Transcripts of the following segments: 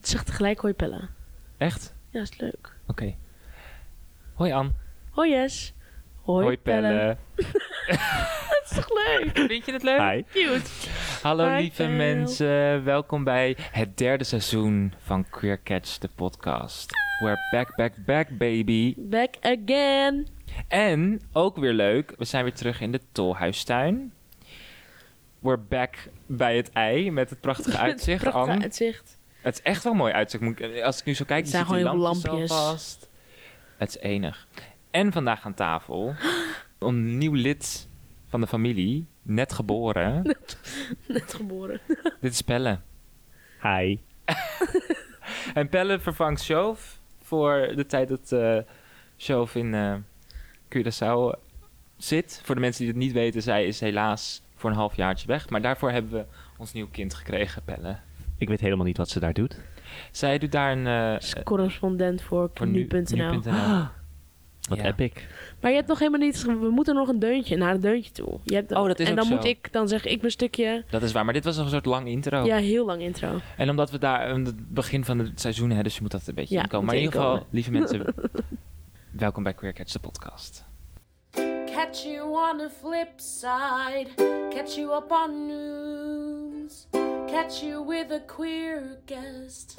zegt tegelijk hoi Pella. Echt? Ja, is leuk. Oké. Hoi Ann. Hoi Jess. Hoi, Dat is toch leuk? Vind je het leuk? Hi. Cute. Hallo Hi, lieve Pel. mensen, welkom bij het derde seizoen van Queer Catch, de podcast. We're back, back, back baby. Back again. En, ook weer leuk, we zijn weer terug in de Tolhuistuin. We're back bij het ei met het prachtige uitzicht, Prachtig Ann. uitzicht. Het is echt wel een mooi uitzicht. Moet ik- Als ik nu zo kijk, Het dan zijn zitten die gewoon heel lampjes, veel lampjes. lampjes. vast. Het is enig. En vandaag aan tafel een nieuw lid van de familie, net geboren. Net geboren. Dit is Pelle. Hi. En Pelle vervangt Sjoof voor de tijd dat eh Sjoof in eh, Curaçao zit. Voor de mensen die het niet weten, zij is helaas voor een half jaartje weg. Maar daarvoor hebben we ons nieuw kind gekregen, Pelle. Ik weet helemaal niet wat ze daar doet. Zij doet daar een... eh, Is correspondent voor, voor nu- nu.nl. Wat Ja. epic. Maar je hebt nog helemaal niet... We moeten nog een deuntje, naar een deuntje toe. Je hebt Oh, dat is En ook dan zo. moet ik... Dan zeg ik mijn stukje. Dat is waar, maar dit was een soort lang intro. Ja, heel lang intro. En omdat we daar aan het begin van het seizoen hebben, dus je moet dat een beetje Ja, inkomen. moet Maar in ieder geval, inkomen. lieve mensen, welkom bij Queer Catch, de podcast. Catch you on the flip side. Catch you up on news. Catch you with a queer guest.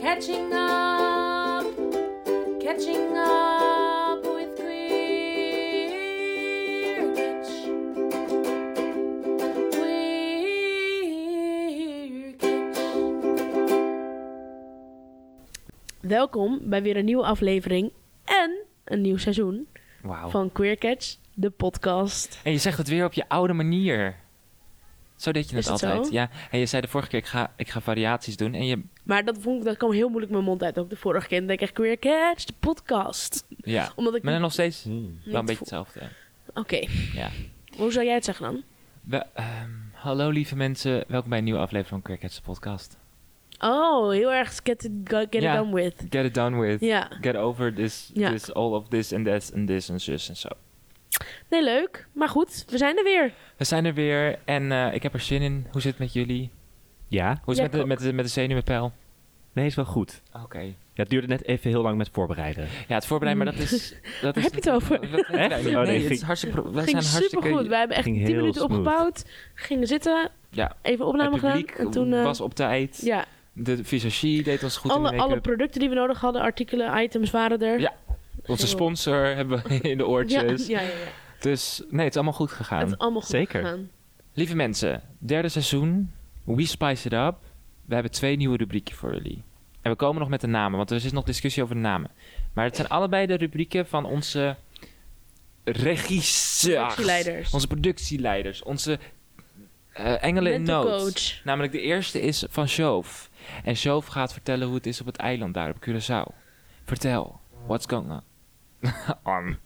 Catching up. Catching up with queer catch. Queer catch. Welkom bij weer een nieuwe aflevering en een nieuw seizoen Wauw. van Queer Catch, de podcast. En je zegt het weer op je oude manier. Zo deed je Is het dat altijd. zo? Ja. En je zei de vorige keer, ik ga, ik ga variaties doen. En je, Maar dat, vond ik, dat kwam heel moeilijk mijn mond uit, ook de vorige keer. Dan denk ik echt Queer Catch, de podcast. ja. Omdat ik... Maar dan nog steeds Hmm. wel een niet beetje voel- hetzelfde. Oké, Ja. hoe zou jij het zeggen dan? We- ehm, hallo lieve mensen, welkom bij een nieuwe aflevering van Queer Catch, de podcast. Oh, heel erg get it, go- get Ja. it done with. Get it done with. Ja. Get over this, Ja. this, all of this and that and this and this en zo. Nee, leuk. Maar goed, we zijn er weer. We zijn er weer en eh, ik heb er zin in. Hoe zit het met jullie? Ja? Hoe is Ja, het met de, ik met, de, met de zenuwenpijl? Nee, is wel goed. Oké. Ja, het duurde net even heel lang met voorbereiden. Ja, het voorbereiden, maar dat is... Dat Waar is heb je het over? Dat- dat- Echt? Nee, Oh, nee, nee, het is ging- hartstikke... pro- Wij Het zijn ging hartstikke... supergoed. We hebben echt Ging 10 heel minuten smooth. opgebouwd. Gingen zitten, Ja, even opname het gedaan. publiek En toen, eh, was op tijd. ja, De visagie deed ons goed in alle, de alle make-up. producten die we nodig hadden, artikelen, items waren er. Ja, Onze sponsor hebben we in de ja, oortjes. ja, ja, ja. Dus nee, het is allemaal goed Het gegaan. is allemaal goed Zeker. gegaan. Lieve mensen, derde seizoen. We spice it up. We hebben twee nieuwe rubrieken voor jullie. En we komen nog met de namen, want er is nog discussie over de namen. Maar het zijn allebei de rubrieken van onze regisseurs. Productieleiders. Onze productieleiders. Onze eh, engelen in Mental nood. coach. Namelijk de eerste is van Shoof. En Shoof gaat vertellen hoe het is op het eiland daar op Curaçao. Vertel, what's going on? Oh, Arm.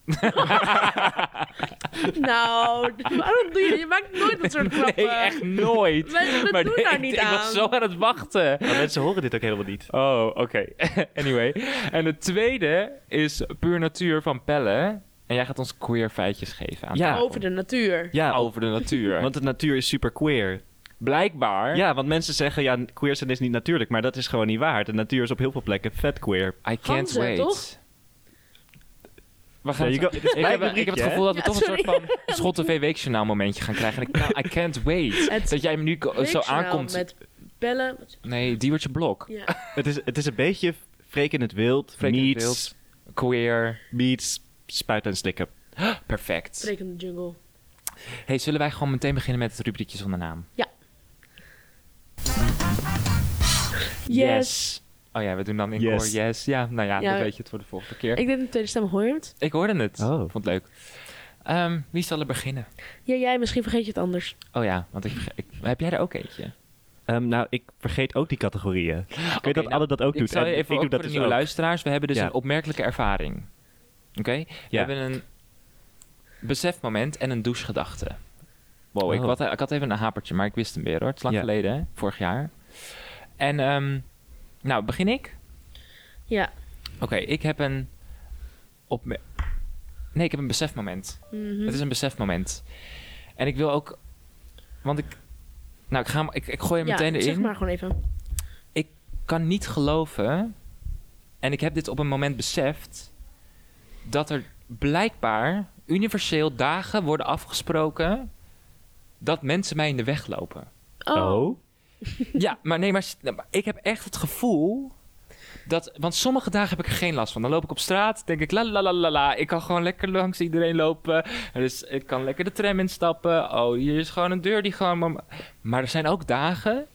Nou, waarom doe je Je maakt nooit dat soort grappen. Nee, echt nooit. Mensen, we doen nee, daar ik- niet ik aan. was zo aan het wachten. Maar mensen horen dit ook helemaal niet. Oh, oké. anyway. En de tweede is Puur Natuur van Pelle. En jij gaat ons queer feitjes geven aan Ja. tafel. Over de natuur. Ja, over de natuur. want de natuur is super queer. Blijkbaar. Ja, want mensen zeggen, ja, queer zijn is niet natuurlijk. Maar dat is gewoon niet waar. De natuur is op heel veel plekken vet queer. I can't Ganzen, wait. toch? We gaan There you go. Dit is dus ik, mijn heb, ik rubriekje, heb het gevoel dat we hè? toch een soort van Schotten V-weekjournaal momentje gaan krijgen. En ik, kan- I can't wait. Het dat jij hem nu ko- zo Weekjournaal aankomt. Met bellen. Nee, die wordt je blok. Ja. Het is, het is een beetje Freek in het wild, Freek in het meets, wild. Queer. meets, spuiten en slikken. Perfect. Spreek in de jungle. Hey, zullen wij gewoon meteen beginnen met het rubriekje zonder naam? Ja. Oh ja, we doen dan in Yes. koor yes. Ja, nou ja, Ja, dan we- weet je het voor de volgende keer. Ik, Ik deed een tweede stem hoort. hoorde het. Oh. Vond het leuk. Ehm, wie zal er beginnen? Ja, jij, misschien vergeet je het anders. Oh ja, want ik, verge- ik- heb jij er ook eentje? Ehm, nou, ik vergeet ook die categorieën. Ik weet dat nou, Anne dat ook Ik doet. zal je en even ik doe ook dat voor de dus nieuwe ook. luisteraars. We hebben dus Ja. een opmerkelijke ervaring. Oké? We Ja. hebben een besefmoment en een douchegedachte. Wow, ik, Oh. wat, ik had even een hapertje, maar ik wist hem weer hoor. Het is lang Ja. geleden, hè? vorig jaar. En, ehm, nou, begin ik? Ja. Oké, ik heb een... opme- nee, ik heb een besefmoment. Mhm. Het is een besefmoment. En ik wil ook... Want ik... Nou, ik, ga, hem- ik, ik gooi hem ja, meteen erin. zeg maar gewoon even. kan niet geloven, en ik heb dit op een moment beseft, dat er blijkbaar universeel dagen worden afgesproken dat mensen mij in de weg lopen. Oh. Ja, maar nee, maar, s- nou, maar ik heb echt het gevoel dat. Want sommige dagen heb ik er geen last van. Dan loop ik op straat, denk ik la la la la la. Ik kan gewoon lekker langs iedereen lopen. Dus ik kan lekker de tram instappen. Oh, hier is gewoon een deur die gewoon. maar- Maar er zijn ook dagen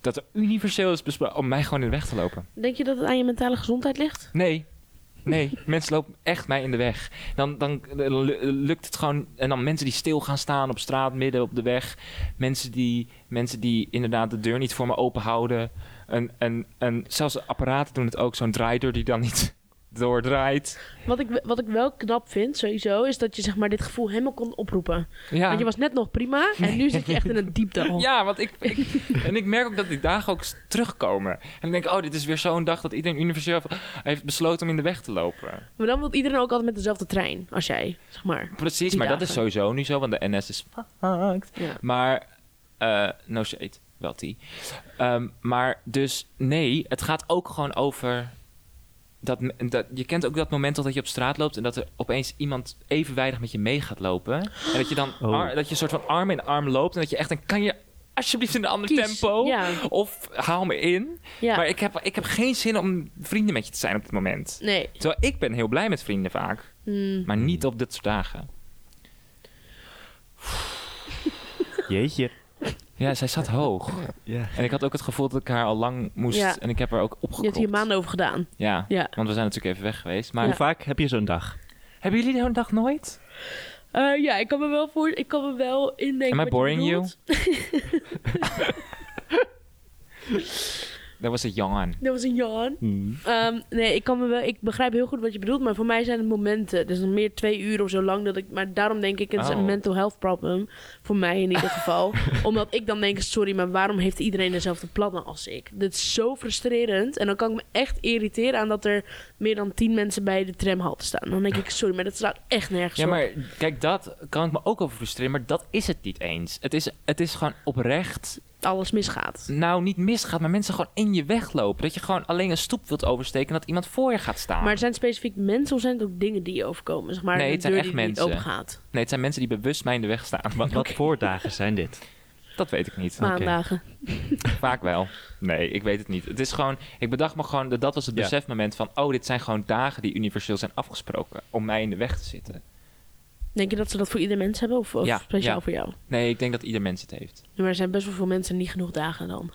dat er universeel is besproken om mij gewoon in de weg te lopen. Denk je dat het aan je mentale gezondheid ligt? Nee. Nee, mensen lopen echt mij in de weg. Dan, dan dan lu- lukt het gewoon. En dan mensen die stil gaan staan op straat, midden op de weg. Mensen die, mensen die inderdaad de deur niet voor me open houden. En, en, en zelfs apparaten doen het ook. Zo'n draaideur die dan niet doordraait. Wat ik, wat ik wel knap vind, sowieso, is dat je zeg maar, dit gevoel helemaal kon oproepen. Ja, Want je was net nog prima en nu zit je echt in een diepte. ja want ik, ik. En ik merk ook dat die dagen ook s- terugkomen. En dan denk ik, oh, dit is weer zo'n dag dat iedereen universeel heeft besloten om in de weg te lopen. Maar dan wil iedereen ook altijd met dezelfde trein als jij, zeg maar. Precies, Die maar dat dagen. is sowieso nu zo, want de NS is fucked. Ja. Maar, eh no shade, wel die. Ehm, maar dus, nee, het gaat ook gewoon over... Dat, me- dat, je kent ook dat moment al dat je op straat loopt... en dat er opeens iemand evenwijdig met je mee gaat lopen. En dat je dan Oh. ar- dat je soort van arm in arm loopt... en dat je echt dan kan je alsjeblieft in een ander Kies, tempo... ja. of haal me in. Ja. Maar ik heb, ik heb geen zin om vrienden met je te zijn op dit moment. Nee. Terwijl ik ben heel blij met vrienden vaak... Hmm. maar niet op dit soort dagen. Jeetje. Ja, zij zat hoog. Ja. En ik had ook het gevoel dat ik haar al lang moest. Ja. En ik heb haar ook Je hebt opgeklopt. hier maanden over gedaan. Ja, Ja. want we zijn natuurlijk even weg geweest. Maar Hoe vaak heb je zo'n dag? hebben jullie zo'n dag nooit? Eh, ja, ik kan me wel voor, ik kan me wel indenken. Am I wat boring je you? bedoelt. Dat was een yawn. Dat was een Jan. Hmm. Ehm, nee, ik, kan me wel, ik begrijp heel goed wat je bedoelt, maar voor mij zijn het momenten. Dus nog meer twee uur of zo lang dat ik. Maar daarom denk ik, het is Oh. een mental health problem. Voor mij in ieder geval. Omdat ik dan denk, sorry, maar waarom heeft iedereen dezelfde plannen als ik? Dit is zo frustrerend. En dan kan ik me echt irriteren aan dat er meer dan tien mensen bij de tramhalte staan. Dan denk ik, sorry, maar dat slaat echt nergens Ja, op. maar kijk, dat kan ik me ook over frustreren. Maar dat is het niet eens. Het is, het is gewoon oprecht. Alles misgaat. Nou, niet misgaat, maar mensen gewoon in je weg lopen. Dat je gewoon alleen een stoep wilt oversteken en dat iemand voor je gaat staan. Maar zijn het specifiek mensen of zijn het ook dingen die je overkomen? Zeg maar, Nee, de het zijn deur echt die niet mensen. open gaat. Nee, het zijn mensen die bewust mij in de weg staan. Wat, wat voor dagen zijn dit? Dat weet ik niet. Maandagen. Vaak wel. Nee, ik weet het niet. Het is gewoon, ik bedacht me gewoon, dat dat was het Ja. besefmoment van, oh, dit zijn gewoon dagen die universeel zijn afgesproken om mij in de weg te zitten. Denk je dat ze dat voor ieder mens hebben of, of Ja, speciaal ja. voor jou? Nee, ik denk dat ieder mens het heeft. Ja, Maar er zijn best wel veel mensen niet genoeg dagen dan.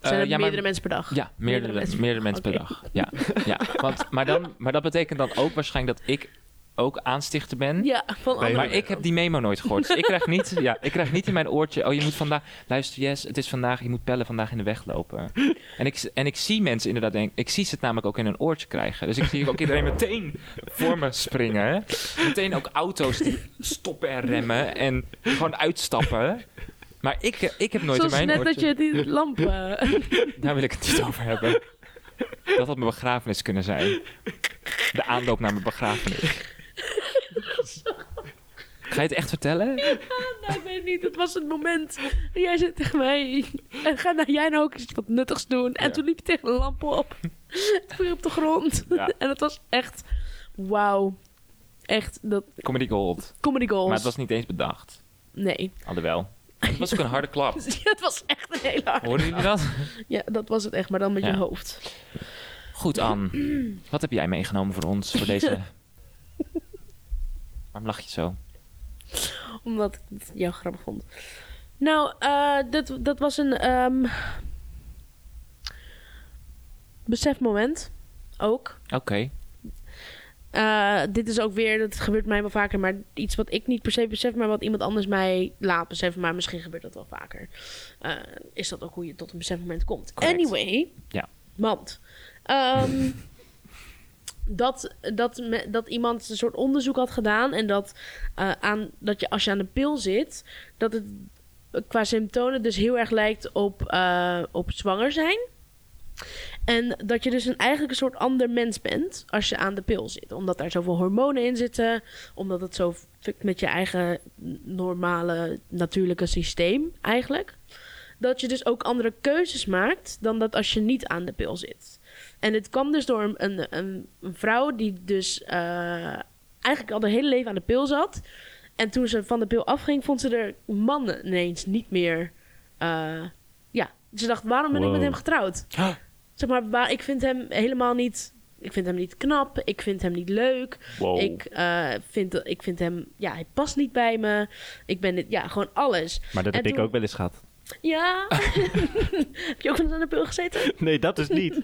Zijn Eh, er ja, maar- meerdere mensen per dag? Ja, meerdere, meerdere, mensen per Oké. dag. Ja, ja. Want, maar, dan, maar dat betekent dan ook waarschijnlijk dat ik ook aanstichter ben. Ja, van Maar andere Maar ik heb die memo nooit gehoord. Dus ik krijg, niet, ja, ik krijg niet in mijn oortje. Oh, je moet vandaag. Luister, yes, het is vandaag. Je moet pellen vandaag in de weg lopen. En ik, en ik zie mensen inderdaad denk Ik zie ze het namelijk ook in hun oortje krijgen. Dus ik zie ook iedereen meteen voor me springen. Meteen ook auto's die stoppen en remmen. En gewoon uitstappen. Maar ik, ik heb nooit Zoals in mijn net dat oortje. je die lamp... eh, Daar wil ik het niet over hebben. Dat had mijn begrafenis kunnen zijn. De aanloop naar mijn begrafenis. Ga je het echt vertellen? nou, ik weet niet, dat was het moment. En jij zei tegen mij... En ga nou, jij nou ook iets wat nuttigs doen. En Ja. toen liep je tegen de lamp op. Toen viel je op de grond. Ja. en het was echt... Wauw. Echt, dat... Comedy Gold. Comedy goals. Maar het was niet eens bedacht. Nee. Alhoewel. Het was ook een harde klap. Ja, het was echt een hele harde Hoorden jullie dat? Ja, dat was het echt, maar dan met Ja. je hoofd. Goed, Ann. Wat heb jij meegenomen voor ons? Voor deze... Waarom lach je zo? Omdat ik het jou grappig vond. Nou, eh, dat, dat was een ehm, besefmoment ook. Oké. Eh, dit is ook weer, dat gebeurt mij wel vaker, maar iets wat ik niet per se besef, maar wat iemand anders mij laat beseffen. Maar misschien gebeurt dat wel vaker. Eh, is dat ook hoe je tot een besefmoment komt? Correct. Anyway, Ja. want ehm, dat, dat, me- dat iemand een soort onderzoek had gedaan en dat, eh, aan, dat je als je aan de pil zit, dat het qua symptomen dus heel erg lijkt op, eh, op zwanger zijn. En dat je dus een, eigenlijk een soort ander mens bent als je aan de pil zit. Omdat daar zoveel hormonen in zitten. Omdat het zo fuckt met je eigen normale, natuurlijke systeem eigenlijk. dat je dus ook andere keuzes maakt dan dat als je niet aan de pil zit. En het kwam dus door een, een, een, een vrouw die dus eh, eigenlijk al haar hele leven aan de pil zat. En toen ze van de pil afging, vond ze er mannen ineens niet meer. eh, ja, ze dacht, waarom ben ik met Wow. hem getrouwd? Zeg maar, waar, ik vind hem helemaal niet. Ik vind hem niet knap. Ik vind hem niet leuk. Oh. Wow. Ik, eh, vind, dat- ik vind hem. Ja, hij past niet bij me. Ik ben dit. Ja, gewoon alles. Maar dat En heb ik toen- ook wel eens gehad. Ja. heb je ook eens aan de pil gezeten? Nee, dat is niet.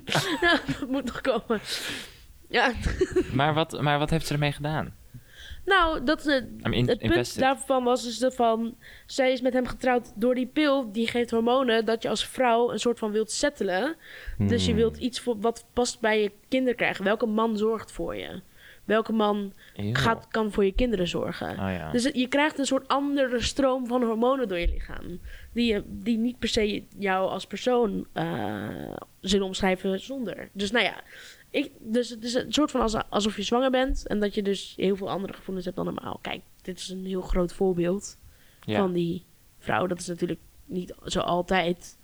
nou, dat moet nog komen. Ja, Maar wat, maar wat heeft ze ermee gedaan? nou, dat, eh, I'm in- het punt invested. daarvan was dus dat van... Zij is met hem getrouwd door die pil. Die geeft hormonen dat je als vrouw een soort van wilt settelen. Dus Hmm. je wilt iets voor, wat past bij je kinderen krijgen. Welke man zorgt voor je? Welke man Eeuw. gaat, kan voor je kinderen zorgen? Oh ja. Dus het- je krijgt een soort andere stroom van hormonen door je lichaam. Die, je- die niet per se jou als persoon eh zullen omschrijven zonder. Dus nou ja, ik, dus het is een soort van als, alsof je zwanger bent. En dat je dus heel veel andere gevoelens hebt dan normaal. Kijk, dit is een heel groot voorbeeld Ja. van die vrouw. Dat is natuurlijk niet zo altijd.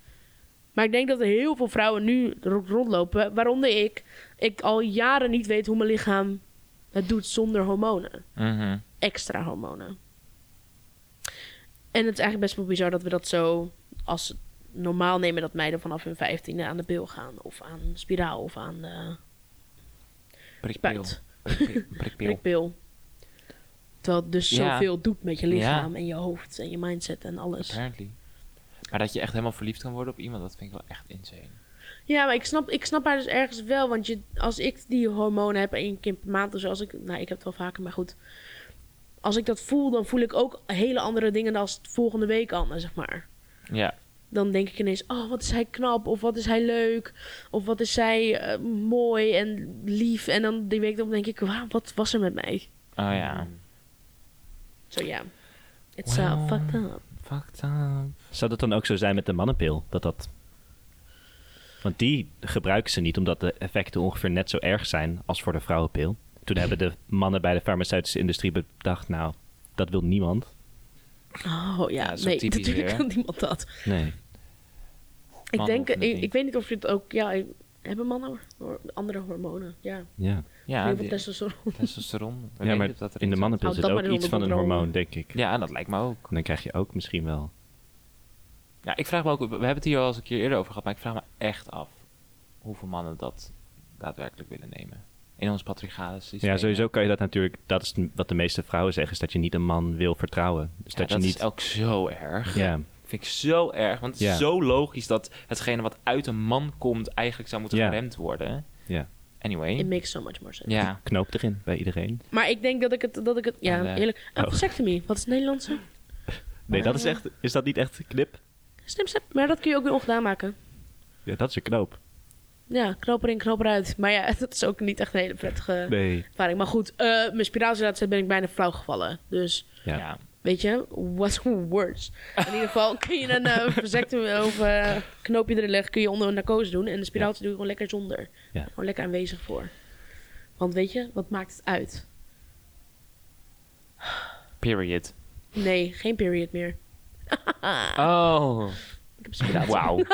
Maar ik denk dat er heel veel vrouwen nu ro- rondlopen, waaronder ik. Ik al jaren niet weet hoe mijn lichaam het doet zonder hormonen Mhm. extra hormonen. En het is eigenlijk best wel bizar dat we dat zo als normaal nemen dat meiden vanaf hun vijftiende aan de pil gaan. Of aan een spiraal of aan de Prikpil. spuit, Prikpil. Prikpil. prikpil. Terwijl het dus Ja. zoveel doet met je Ja. lichaam en je hoofd en je mindset en alles. Apparently. Maar dat je echt helemaal verliefd kan worden op iemand, dat vind ik wel echt insane. Ja, maar ik snap, ik snap haar dus ergens wel. Want je, als ik die hormonen heb één keer per maand of zo. Als ik, nou, ik heb het wel vaker, maar goed. Als ik dat voel, dan voel ik ook hele andere dingen dan als het volgende week anders, zeg maar. Ja. dan denk ik ineens, oh, wat is hij knap, of wat is hij leuk, of wat is zij eh, mooi en lief. En dan die week dan denk ik, waarom, wat was er met mij? Oh ja. Mm. Zo ja, it's uh, Well. fucked up. Fucked up. Zou dat dan ook zo zijn met de mannenpil? Dat dat... Want die gebruiken ze niet omdat de effecten ongeveer net zo erg zijn als voor de vrouwenpil. Toen hebben de mannen bij de farmaceutische industrie bedacht, nou, dat wil niemand. Oh ja, Ja, zo nee, typisch natuurlijk weer. kan niemand dat. Nee. Ik Mannen denk, hoeven het ik, niet. ik weet niet of je het ook, ja, ik- hebben mannen hoor- andere hormonen? Ja, Ja. Ja, heel veel die- testosteron. testosteron. We ja, weten maar dat er in de iets- mannenpil Oh, zit dat ook maar dus iets van een onder controle. hormoon, denk ik. Ja, dat lijkt me ook. En dan krijg je ook misschien wel... Ja, ik vraag me ook, we hebben het hier al eens een keer eerder over gehad, maar ik vraag me echt af hoeveel mannen dat daadwerkelijk willen nemen. In ons patriarchale systeem. Ja, sowieso kan je dat natuurlijk... Dat is wat de meeste vrouwen zeggen, is dat je niet een man wil vertrouwen. Dus Ja, dat, dat, je is niet... ook zo erg. Ja, Vind ik zo erg, want het Ja. is zo logisch dat hetgene wat uit een man komt eigenlijk zou moeten Ja. geremd worden. ja. It Anyway. makes so much more sense. Ja. Knoop erin bij iedereen. Maar ik denk dat ik het, dat ik het, ja, En, eh, eerlijk. oh. Ah, vasectomie, wat is het Nederlandse? Nee, dat is Ah. echt... Is dat niet echt een knip? Snip, snip, maar dat kun je ook weer ongedaan maken. Ja, dat is een knoop. Ja, knoop erin, knoop eruit. Maar ja, dat is ook niet echt een hele prettige... Eh. Nee. ervaring. Maar goed, eh, mijn spiraalzaad ben ik bijna flauw gevallen. Dus Ja. Ja. weet je, what's worse? In ieder geval kun je een eh vasectomie of eh, knoopje erin leggen, kun je onder een narcose doen. En de spiraaltje doe je gewoon lekker zonder. Ja. Gewoon lekker aanwezig voor. Want weet je, wat maakt het uit? Period. Nee, geen period meer. Oh. Ik heb spiraal. Wauw.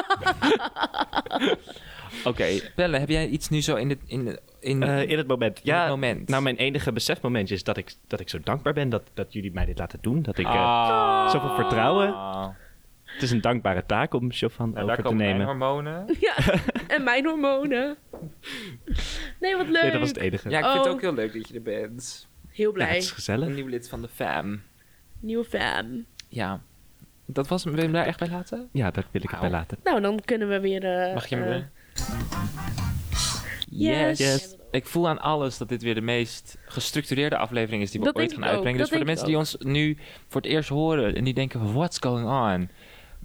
Oké, Pelle, heb jij iets nu zo in het... In, de- in, Eh, in het moment. In Ja, het moment. Nou, mijn enige besefmomentje is dat ik, dat ik zo dankbaar ben dat, dat jullie mij dit laten doen. Dat ik eh, Ah. zoveel vertrouwen. Ah. Het is een dankbare taak om Chauvin Nou, daar over te komen mijn nemen. hormonen. Ja, en mijn hormonen. Nee, wat leuk. Nee, dat was het enige. Ja, ik vind Oh. het ook heel leuk dat je er bent. Heel Ja, het blij. is gezellig. Een nieuw lid van de fam. Nieuwe fan. Ja. Dat was hem. Wil je hem daar echt bij laten? Ja, daar wil ik het bij Wauw. laten. Nou, dan kunnen we weer... eh, Mag je hem eh, weer? Yes. Yes. Ik voel aan alles dat dit weer de meest gestructureerde aflevering is die we Dat ooit denk gaan ik ook. uitbrengen. Dat dus voor de denk mensen ik die ons nu voor het eerst horen en die denken, van, what's going on?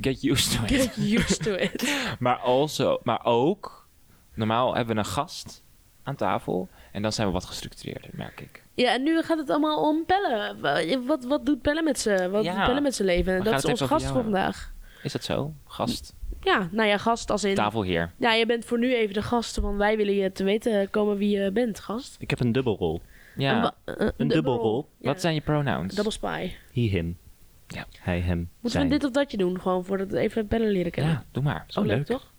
Get used to it. Get used to it. maar, also, maar ook, normaal hebben we een gast aan tafel en dan zijn we wat gestructureerder, merk ik. Ja, en nu gaat het allemaal om Pelle. Wa- Wat, wat doet Pelle met zijn wat Ja. doet Pelle met zijn leven? We dat gaan is het onze even over gast voor jou vandaag. Is dat zo? Gast, Ja, nou ja, gast als in... tafelheer. Ja, je bent voor nu even de gast, want wij willen je te weten komen wie je bent, gast. Ik heb een dubbelrol. Ja. ba- eh, Een dubbelrol? Ja, Wat zijn je pronouns? Double spy. He, him. Hij, hem, Moeten zijn. we dit of datje doen? Gewoon voordat we even bellen leren kennen. Ja, doe maar. Zo oh, leuk, leuk. toch?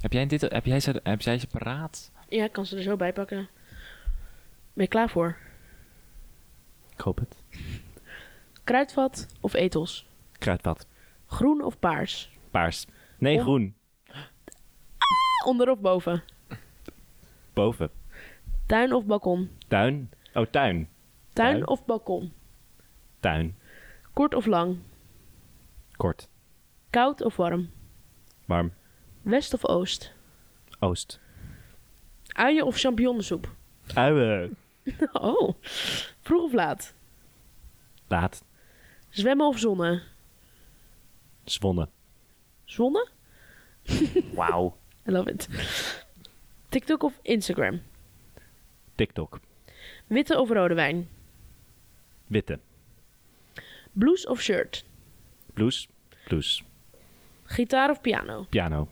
Heb jij, dit, heb, jij ze, heb jij ze paraat? Ja, ik kan ze er zo bij pakken. Ben je klaar voor? Ik hoop het. Kruidvat of etels? Kruidvat. Groen of paars? Paars. Nee, Oh. Om- groen. Onder of boven? Boven. Tuin of balkon? Tuin. Oh, tuin. Tuin, Tuin. of balkon? Tuin. Kort of lang? Kort. Koud of warm? Warm. West of oost? Oost. Uien of champignonsoep? Uien. Oh, vroeg of laat? Laat. Zwemmen of zonnen? Zwonnen. Zonne? Wauw. I love it. TikTok of Instagram? TikTok. Witte of rode wijn? Witte. Blouse of shirt? Blues. Blues. Gitaar of piano? Piano.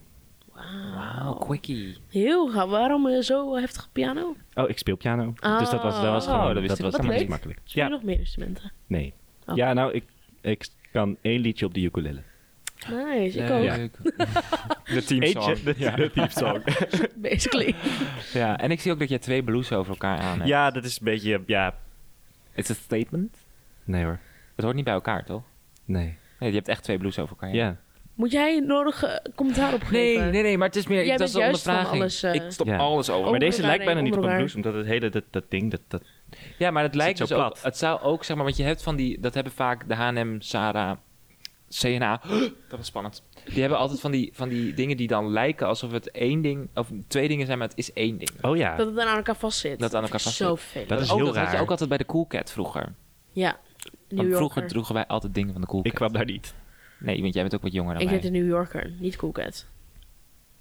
Wauw, quickie. Heel gaaf. Waarom eh, zo heftig op piano? Oh, ik speel piano. Ah. Dus dat was, dat was Oh, gewoon, dat dat wist ik Wat niet. was helemaal leuk. niet makkelijk. Speel je Ja, nog meer instrumenten? nee. Oh. Ja, nou, ik, ik kan één liedje op de ukulele. Nice, ik ook. Leuk. De team Eentje, de, de theme song. Basically. Ja, en ik zie ook dat jij twee blues over elkaar aan hebt. ja, dat is een beetje, ja... It's a statement. Nee hoor. Het hoort niet bij elkaar, toch? Nee. Nee, je hebt echt twee blues over elkaar. Ja. ja. Moet jij een nodige commentaar Nee, opgeven? nee, nee, maar het is meer... Jij ik, dat bent is een juist van ondervraging. alles, eh, ik stop Ja. alles over. Oh. Maar deze elkaar lijkt bijna heen, niet op een onder blues, omdat het hele, dat, dat ding, dat, dat... Ja, maar het lijkt zo dus ook... plat. Het zou ook, zeg maar, want je hebt van die... Dat hebben vaak de H&M, Sarah, CNA. Dat was spannend. Die hebben altijd van die, van die dingen die dan lijken alsof het één ding... Of twee dingen zijn, maar het is één ding. Oh ja. Dat het dan aan elkaar vastzit. Dat het aan elkaar Vind ik vastzit. Zo veel. Dat is ook, heel Oh, dat had je raar. ook altijd bij de Cool Cat vroeger. Ja. New Want Yorker. vroeger droegen wij altijd dingen van de Cool ik Cat. kwam daar niet. Nee, want jij bent ook wat jonger dan Ik mij. ben de New Yorker, niet Cool Cat.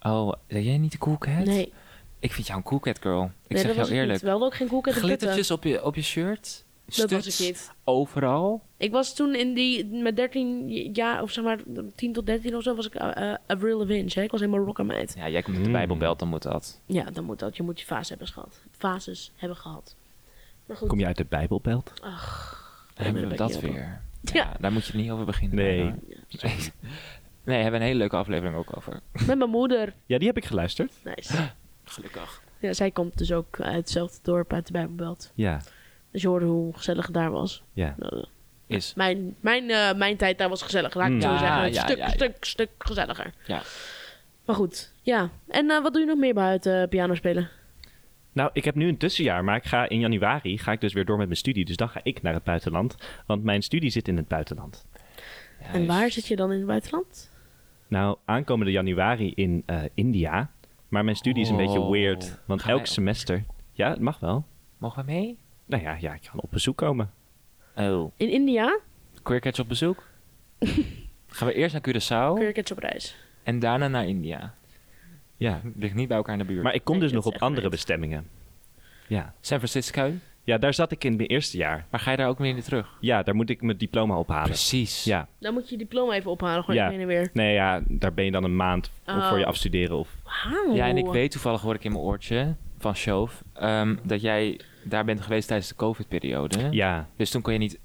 Oh, ben jij niet de Cool Cat? Nee, nee Ik vind jou een Cool Cat girl. Ik dat was zeg jou ik eerlijk. niet. We hadden ook geen Cool Cat in Putten. Glittertjes op je, op je shirt. Dat was stuts, ik niet. Overal. Ik was toen in die, met 13 jaar, of zeg maar 10 tot 13 of zo, was ik eh eh, Avril Lavigne. Hè? Ik was helemaal rockermeid. Ja, jij komt uit de Mm. Bijbelbelt, dan moet dat. Ja, dan moet dat. Je moet je fase hebben gehad. Fases hebben gehad. Maar goed. Kom je uit de Bijbelbelt? daar Dan hebben we ben ik dat niet op. weer. Ja. Ja. daar moet je niet over beginnen. Nee. Maar- Nee, we hebben een hele leuke aflevering ook over. Met mijn moeder. Ja, die heb ik geluisterd. Nice. Gelukkig. Ja, zij komt dus ook uit hetzelfde dorp, uit de Bijbelbelt. Ja, Dus je hoorde hoe gezellig het daar was. ja. Nou, Is. Mijn, mijn, eh, mijn tijd daar was gezellig, laat ik het Mm. zo Hmm. Ja, zeggen. Een ja, stuk, ja, ja. stuk, stuk gezelliger. Ja. Maar goed, ja. En eh, wat doe je nog meer buiten eh, piano spelen? Nou, ik heb nu een tussenjaar, maar ik ga in januari ga ik dus weer door met mijn studie. Dus dan ga ik naar het buitenland, want mijn studie zit in het buitenland. En waar zit je dan in het buitenland? Nou, aankomende januari in eh, India, maar mijn studie is een beetje Oh. weird, want Ga jij elk op- semester... Ja, het mag wel. Mogen we mee? Nou ja, ja, ik kan op bezoek komen. Oh. In India? Queercats op bezoek? Gaan we eerst naar Curaçao Crickets op reis. en daarna naar India. Ja, Ligt niet bij elkaar in de buurt. maar ik kom Nee, dus dat nog is op echt andere weird. bestemmingen. Ja. San Francisco, ja, daar zat ik in mijn eerste jaar. maar ga je daar ook weer in terug? Ja, daar moet ik mijn diploma ophalen. Precies. Ja, Dan moet je je diploma even ophalen, gewoon Ja. heen en weer. nee, ja, daar ben je dan een maand Oh. voor je afstuderen of Wauw. Ja, en ik weet toevallig, hoor ik in mijn oortje van Shove, ehm, dat jij daar bent geweest tijdens de COVID-periode. Ja, Dus toen kon je niet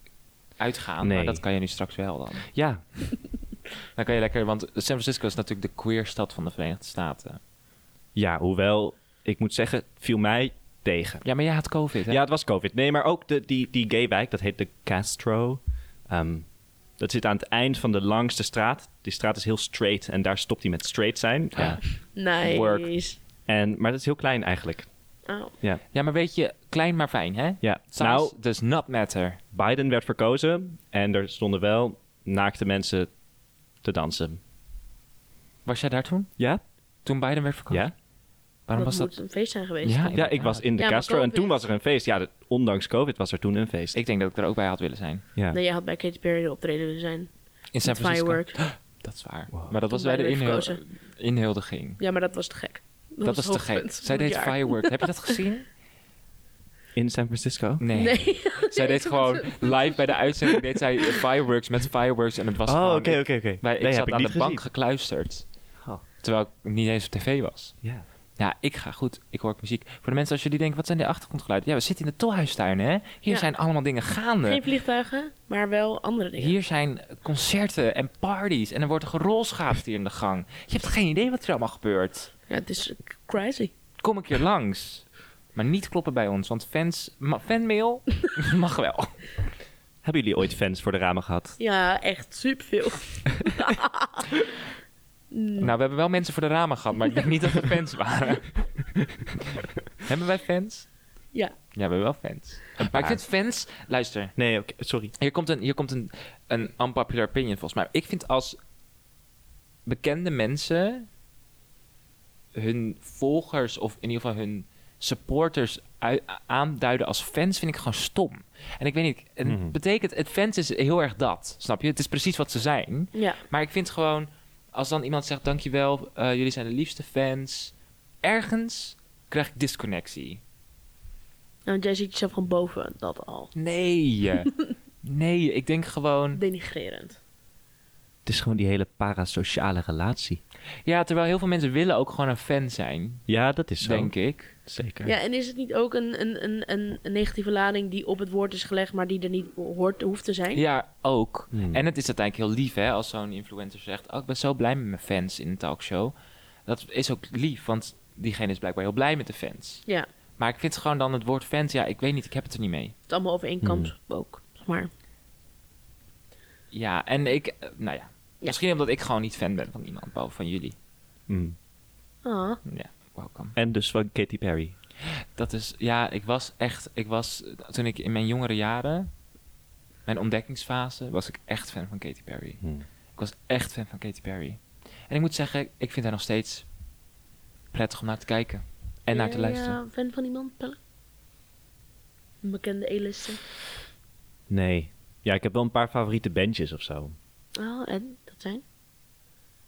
uitgaan, Nee. maar dat kan je nu straks wel dan. ja, Dan kan je lekker, want San Francisco is natuurlijk de queer stad van de Verenigde Staten. ja. Hoewel, ik moet zeggen, het viel mij tegen. Ja, maar jij had COVID, hè? Ja, het was COVID. Nee, maar ook de, die, die gaywijk, dat heet de Castro. Ehm, dat zit aan het eind van de langste straat. Die straat is heel straight en daar stopt hij met straight zijn. Ja. Ja. Nice. Work. En, maar dat is heel klein eigenlijk. Oh. Ja. Ja, maar weet je, klein maar fijn, hè? Ja. Size Nou- does not matter. Biden werd verkozen en er stonden wel naakte mensen te dansen. Was jij daar toen? Ja? Toen Biden werd verkozen? Ja? Waarom dat was moet dat? een feest zijn geweest. Ja. Ja, ik was in de Ja, maar Castro en COVID- toen was er een feest. Ja, dat- ondanks COVID was er toen een feest. Ik denk dat ik er ook bij had willen zijn. ja. Nee, jij had bij Katy Perry de optreden willen zijn. In San Met Francisco. firework. Dat is waar. Maar dat was Toen bij de Biden werd inhul- inhuldiging. Ja, maar dat was te gek. Dat, Dat was het te gek. hoogtepunt Zij van het deed jaar. firework. Heb je dat gezien? In San Francisco? Nee. Nee. Zij deed gewoon live bij de uitzending deed zij fireworks met fireworks en het was Oh, gewoon- oké, ik- oké, oké. Wij, ik Nee, zat heb ik aan niet de bank gezien. gekluisterd. Oh. Terwijl ik niet eens op tv was. Ja. Ja, ik ga goed. Ik hoor ook muziek. Voor de mensen als jullie denken, wat zijn de achtergrondgeluiden? Ja, we zitten in de tolhuistuin, hè? Hier Ja. zijn allemaal dingen gaande. Geen vliegtuigen, maar wel andere dingen. Hier zijn concerten en parties. En er wordt gerolschaafd hier in de gang. Je hebt geen idee wat er allemaal gebeurt. Ja, het is crazy. Kom een keer langs. Maar niet kloppen bij ons, want fans, ma- fanmail mag wel. Hebben jullie ooit fans voor de ramen gehad? Ja, echt superveel. Nou, we hebben wel mensen voor de ramen gehad, maar ik denk niet dat we fans waren. hebben wij fans? Ja. Ja, we hebben wel fans. Maar ik vind fans... Luister, Nee, oké, sorry. Hier komt een, hier komt een, een unpopular opinion volgens mij. Ik vind als bekende mensen hun volgers of in ieder geval hun supporters ui- aanduiden als fans, vind ik gewoon stom. En ik weet niet, het Mhm. betekent, het fans is heel erg dat, snap je? Het is precies wat ze zijn. Ja. Maar ik vind gewoon, als dan iemand zegt, dankjewel, eh jullie zijn de liefste fans. Ergens krijg ik disconnectie. Nou, want jij ziet jezelf gewoon boven dat al. Nee, nee, ik denk gewoon... Denigrerend. Het is gewoon die hele parasociale relatie. Ja, terwijl heel veel mensen willen ook gewoon een fan zijn, Ja, dat is zo. denk ik. Zeker. Ja, en is het niet ook een, een, een, een een negatieve lading die op het woord is gelegd, maar die er niet hoort, hoeft te zijn? Ja, ook. Hmm. En het is uiteindelijk heel lief, hè, als zo'n influencer zegt... Oh, ik ben zo blij met mijn fans in een talkshow. Dat is ook lief, want diegene is blijkbaar heel blij met de fans. Ja, Maar ik vind gewoon dan het woord fans... Ja, ik weet niet, ik heb het er niet mee. het allemaal over één kant Hmm. ook. zeg Maar Ja, en ik... eh, Nou ja, misschien omdat ik gewoon niet fan ben van iemand, behalve van jullie. Mm. ah, Ja, welkom. En dus van Katy Perry. Dat is, ja, ik was echt, ik was, toen ik in mijn jongere jaren, mijn ontdekkingsfase, was ik echt fan van Katy Perry. Hmm. Ik was echt fan van Katy Perry. En ik moet zeggen, ik vind haar nog steeds prettig om naar te kijken en naar te luisteren. Ja, fan van iemand, Pelle? Een bekende E-lister. Nee. Ja, ik heb wel een paar favoriete bandjes of zo. Oh, en dat zijn?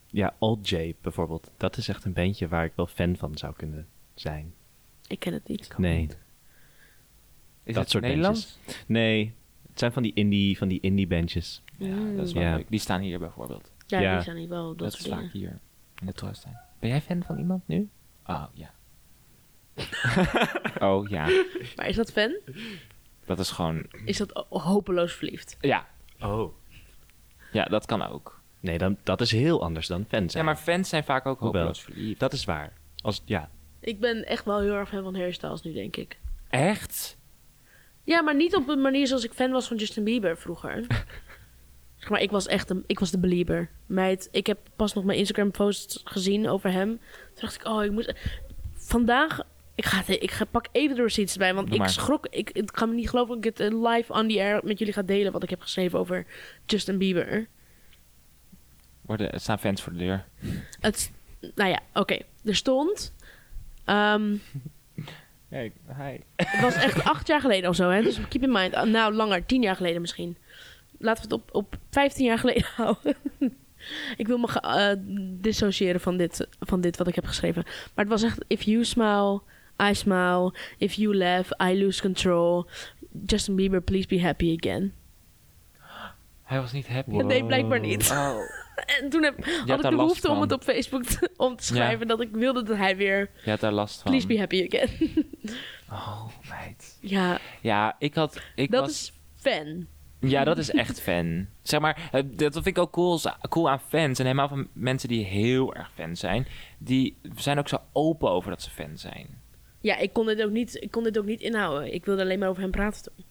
Ja, Old J bijvoorbeeld. Dat is echt een bandje waar ik wel fan van zou kunnen zijn. Ik ken het niet. Nee. Is dat het soort Nederlands? Nee. Het zijn van die indie, van die indie bandjes. Ja, dat is Mm. wel Ja. leuk. Die staan hier bijvoorbeeld. Ja, Ja. die zijn niet wel dat, Dat, soort is vaak dingen. hier in de troostuin. Ben jij fan van iemand nu? Oh, ja. oh, ja. Maar is dat fan? Dat is gewoon, Is dat ho- hopeloos verliefd? ja. Oh. Ja, dat kan ook. Nee, dan, dat is heel anders dan fan Ja, zijn. maar fans zijn vaak ook Hoewel. hopeloos verliefd. Dat is waar. Als, ja. Ik ben echt wel heel erg fan van Harry Styles nu, denk ik. Echt? Ja, maar niet op een manier zoals ik fan was van Justin Bieber vroeger. zeg maar, ik was echt een, ik was de belieber. Meid, ik heb pas nog mijn Instagram post gezien over hem. Toen dacht ik, oh, ik moet... Vandaag, ik, ga, het- ik ga, pak even de receipts erbij, want Doe ik maar. schrok. Ik, ik kan me niet geloven dat ik het eh, live on the air met jullie ga delen... wat ik heb geschreven over Justin Bieber. Worden, er staan fans voor de deur. Het, nou ja, oké. Er stond... ehm, Hey, hi. Het was echt acht jaar geleden of zo, hè? Dus keep in mind. Ah, Nou, langer. Tien jaar geleden misschien. Laten we het op, op vijftien jaar geleden houden. ik wil me ge- eh, dissociëren van dit, van dit wat ik heb geschreven. Maar het was echt... If you smile, I smile. If you laugh, I lose control. Justin Bieber, please be happy again. Hij was niet happy. Nee, blijkbaar niet. Oh. En toen heb, had ik daar de last behoefte om van. het op Facebook te- om te schrijven... dat ik wilde dat hij weer... Je had daar last van. Please be happy again. Oh, meid. ja, Ja, ik had... Ik dat was, is fan. Ja, dat is echt fan. Zeg maar, eh, dat vind ik ook cool, als- cool aan fans. En helemaal van mensen die heel erg fan zijn. Die zijn ook zo open over dat ze fan zijn. Ja, ik kon dit ook niet, ik kon dit ook niet inhouden. Ik wilde alleen maar over hem praten toen.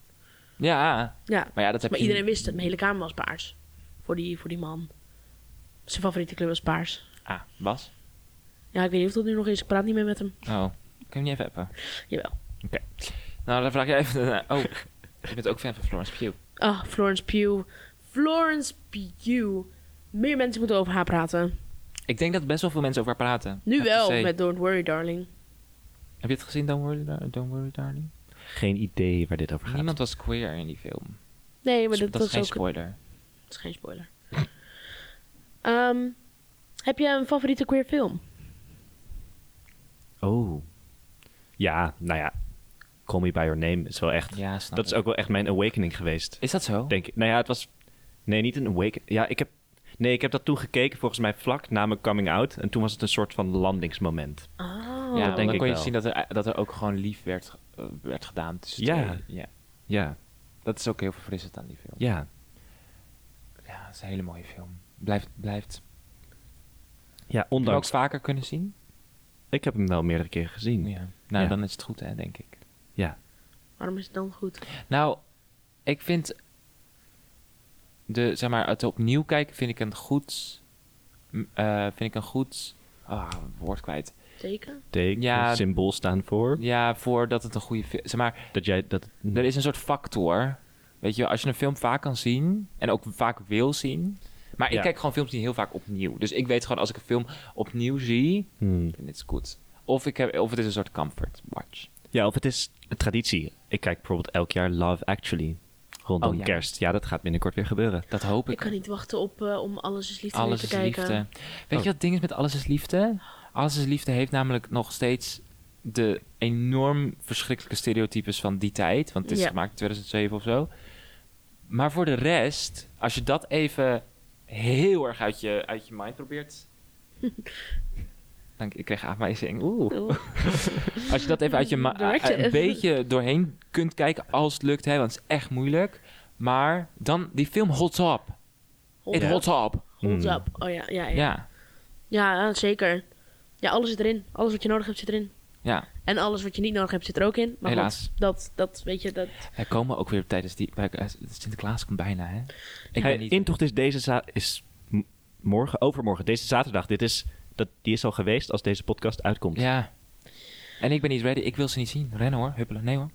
Ja, Ja. maar ja, dat heb Maar je... iedereen wist het. Mijn hele kamer was paars. Voor die, voor die man. Zijn favoriete kleur was paars. Ah, Bas? Ja, ik weet niet of dat nu nog is. Ik praat niet meer met hem. Oh, kun je niet even appen? Jawel. Oké. Nou, dan vraag je even... Oh, je bent ook fan van Florence Pugh. Ah, Florence Pugh. Florence Pugh. Meer mensen moeten over haar praten. Ik denk dat best wel veel mensen over haar praten. Nu Have to wel say. met Don't Worry Darling. Heb je het gezien, Don't Worry, Dar- Don't Worry Darling? Geen idee waar dit over gaat. Niemand was queer in die film. Nee, maar Dus dat, dat is geen was ook... spoiler. Dat is geen spoiler. Ehm, heb je een favoriete queer film? Oh. Ja, nou ja. Call Me By Your Name is wel echt... Ja, snap dat is ik. ook wel echt mijn awakening geweest. Is dat zo? Denk ik. Nou ja, het was... Nee, niet een awakening. Ja, ik heb... Nee, ik heb dat toen gekeken volgens mij vlak na mijn coming out. En toen was het een soort van landingsmoment. Ah. Oh. ja, want denk dan ik kon je wel. zien dat er, eh, dat er ook gewoon lief werd, ge- eh, werd gedaan. tussen Ja. twee. ja. Ja, Dat is ook heel verfrissend aan die film. ja. Ja, het is een hele mooie film. Blijft, blijft. Heb Ja, je hem ook ondanks... vaker kunnen zien? Ik heb hem wel meerdere keren gezien. Ja. Nou, Ja. dan is het goed, hè, denk ik. Ja. Waarom is het dan goed? Nou, ik vind de, zeg maar, het opnieuw kijken vind ik een goed, m, eh, vind ik een goed, ah, woord kwijt. Zeker? Teken, Ja. symbool staan voor. Ja, voordat het een goede film, zeg maar, Dat jij dat... er is een soort factor. Weet je, wel, als je een film vaak kan zien en ook vaak wil zien. Maar ik Ja. kijk gewoon films niet heel vaak opnieuw. Dus ik weet gewoon als ik een film opnieuw zie, Hmm. vind ik het goed. Of, ik heb, of het is een soort comfort watch. Ja, of het is een traditie. Ik kijk bijvoorbeeld elk jaar Love Actually. Rondom Oh, ja. kerst. Ja, dat gaat binnenkort weer gebeuren. Dat hoop Ik ik. kan niet wachten op eh, om Alles is Liefde Alles weer is te kijken. liefde. Weet je Oh. wat het ding is met Alles is liefde? Alles is liefde heeft namelijk nog steeds de enorm verschrikkelijke stereotypes van die tijd. Want het is Ja. gemaakt in 2007 of zo. Maar voor de rest, als je dat even heel erg uit je, uit je mind probeert... Dank, ik kreeg aanwijzing. Oeh. Oeh. Als je dat even uit je ma- Direct je een even. beetje doorheen kunt kijken als het lukt, hè, want het is echt moeilijk. Maar dan, die film holds up. Hold It holds up. Hold Hmm. up. Oh ja, ja, ja. Ja. Ja, ja, eh, zeker. Ja, alles zit erin. Alles wat je nodig hebt zit erin. ja. En alles wat je niet nodig hebt zit er ook in. Maar Helaas. goed, dat, dat weet je, dat... Wij komen ook weer tijdens die... wij- eh, Sinterklaas komt bijna, hè? Ik Hey, ben niet... Intocht is deze za- is m- morgen, overmorgen, deze zaterdag. Dit is, dat, die is al geweest als deze podcast uitkomt. Ja. En ik ben niet ready. Ik wil ze niet zien. Rennen hoor. Huppelen. Nee hoor.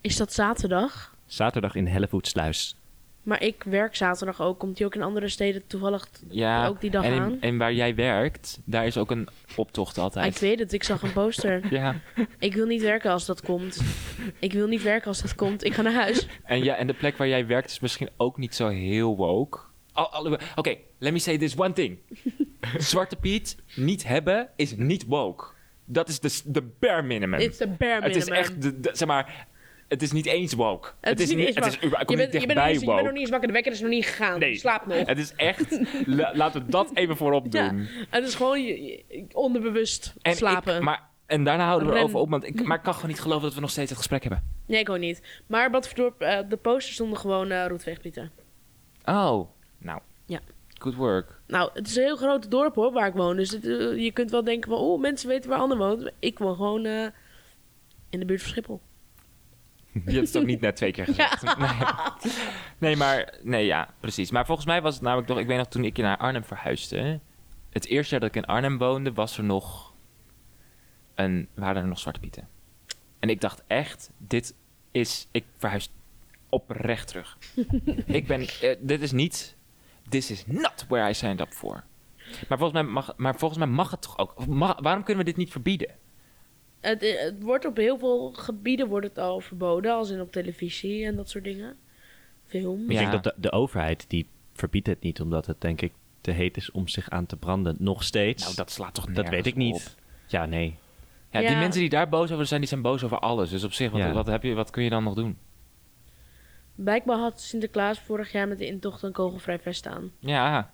Is dat zaterdag? Zaterdag in Hellevoetsluis. Maar ik werk zaterdag ook. Komt die ook in andere steden toevallig? t- Ja. Ook die dag en, in- aan? en waar jij werkt, daar is ook een optocht altijd. Ik weet het, ik zag een poster. Ja. ik wil niet werken als dat komt. Ik wil niet werken als dat komt. Ik ga naar huis. En, ja, en de plek waar jij werkt is misschien ook niet zo heel woke. Al- alle- Oké, let me say this one thing. Zwarte Piet niet hebben is niet woke. Dat is de, s- de bare minimum. It's the bare minimum. Het is echt, de, de- zeg maar, het is niet eens woke. Het, is, niet, eens het is, wakker. überhaupt- je, komt bent, niet je, bent nog dichtbij niet, je bent woke. nog niet eens wakker. De wekker is nog niet gegaan. Nee. Slaap nog. Het is echt, la- laten we dat even voorop doen. Ja, het is gewoon je- je- onderbewust en ik- slapen. maar, en daarna houden we Ren- erover op, want ik, maar ik kan gewoon niet geloven dat we nog steeds het gesprek hebben. Nee, ik ook niet. Maar Badverdorp, eh de posters stonden gewoon eh Roetveegpieter. Oh, nou. Ja. Good work. Nou, het is een heel groot dorp hoor, waar ik woon. Dus het, eh, je kunt wel denken van, oh, mensen weten waar Anne woont. Ik woon gewoon eh, in de buurt van Schiphol. Je hebt het ook niet net twee keer gezegd. Nee. nee, maar nee, ja, precies. Maar volgens mij was het namelijk nog, ik weet nog toen ik naar Arnhem verhuisde. Het eerste jaar dat ik in Arnhem woonde, was er nog een, waren er nog zwarte pieten. En ik dacht echt, dit is, ik verhuis oprecht terug. ik ben, eh, dit is niet, this is not where I signed up for. Maar volgens mij mag, maar volgens mij mag het toch ook. Mag- waarom kunnen we dit niet verbieden? Het, eh, het wordt op heel veel gebieden wordt het al verboden, als in op televisie en dat soort dingen. Film. Ik Ja. denk dat de, de overheid, die verbiedt het niet, omdat het denk ik te heet is om zich aan te branden. Nog steeds. Nou, dat slaat toch Dat weet ik nergens op. niet. Ja, nee. Ja, Ja. die mensen die daar boos over zijn, die zijn boos over alles. Dus op zich, wat, Ja. wat, heb je, wat kun je dan nog doen? Blijkbaar had Sinterklaas vorig jaar met de intocht een kogelvrij vest aan. Ja,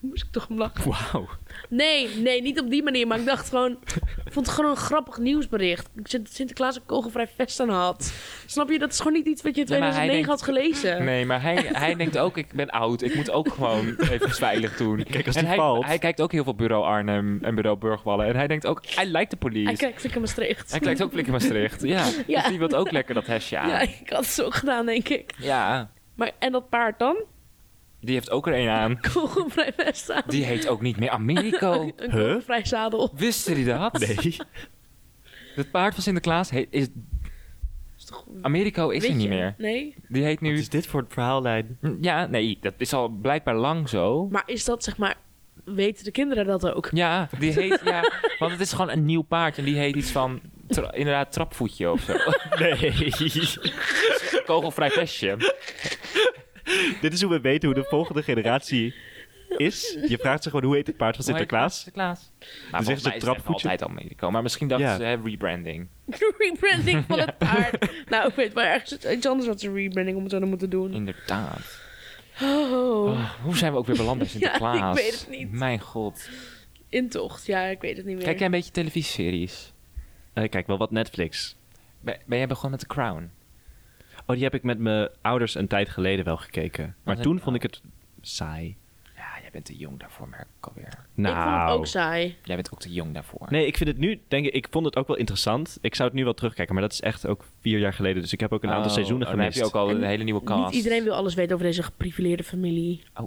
Toen moest ik toch om lachen. Wauw. Nee, nee, niet op die manier. Maar ik dacht gewoon... Ik vond het gewoon een grappig nieuwsbericht. Ik zit dat Sinterklaas een kogelvrij vest aan had. Snap je? Dat is gewoon niet iets wat je in Nee, maar hij 2009 had gelezen. nee, maar hij, hij denkt ook, ik ben oud. Ik moet ook gewoon even veilig doen. Kijk, als en die hij, valt. hij kijkt ook heel veel Bureau Arnhem en Bureau Burgwallen. En hij denkt ook, hij lijkt de police. Hij kijkt ik in Maastricht. Hij kijkt ook Flikker Maastricht. Ja, Ja. dus die wil ook lekker dat hesje aan. Ja, Ja. ik had het zo gedaan, denk ik. Maar, en dat paard dan? die heeft ook er een aan. Kogelvrij vest aan. Die heet ook niet meer Americo. Een Huh? kogelvrij zadel. Wisten jullie dat? Nee. Het paard van Sinterklaas heet, is... Is toch- Americo Ah, is weet er niet je? meer. Nee. Die heet Wat nu... is Dus dit voor een verhaallijn? Ja, nee, dat is al blijkbaar lang zo. Maar is dat, zeg maar... Weten de kinderen dat ook? Ja, die heet, ja, want het is gewoon een nieuw paard en die heet iets van, tra- inderdaad, trapvoetje of zo. Nee. Kogelvrij vestje. dit is hoe we weten hoe de volgende generatie is. Je vraagt zich gewoon hoe heet het paard van Sinterklaas? Sinterklaas. Maar Dan volgens zegt ze mij is het echt trapvoetje. altijd al Medico, maar misschien dachten Ja. ze hè, rebranding. De rebranding van het paard. nou, ik weet wel ergens iets anders wat ze rebranding om het zouden moeten doen. Inderdaad. Oh. Oh, hoe zijn we ook weer beland bij Ja, ik Sinterklaas? weet het niet. Mijn god. intocht. Ja, ik weet het niet meer. Kijk jij een beetje televisieseries? Eh, kijk, wel wat Netflix. Ben, ben jij begonnen met The Crown? Oh, die heb ik met mijn ouders een tijd geleden wel gekeken. Maar is toen het- vond ik het saai. Ja, jij bent te jong daarvoor, merk ik alweer. Nou, Ik vond het ook saai. Jij bent ook te jong daarvoor. Nee, ik vind het nu, denk ik, ik vond het ook wel interessant. Ik zou het nu wel terugkijken, maar dat is echt ook vier jaar geleden. Dus ik heb ook een aantal Oh, seizoenen oh, Dan heb gemist. je ook al een En hele nieuwe cast. Niet iedereen wil alles weten over deze geprivileerde familie.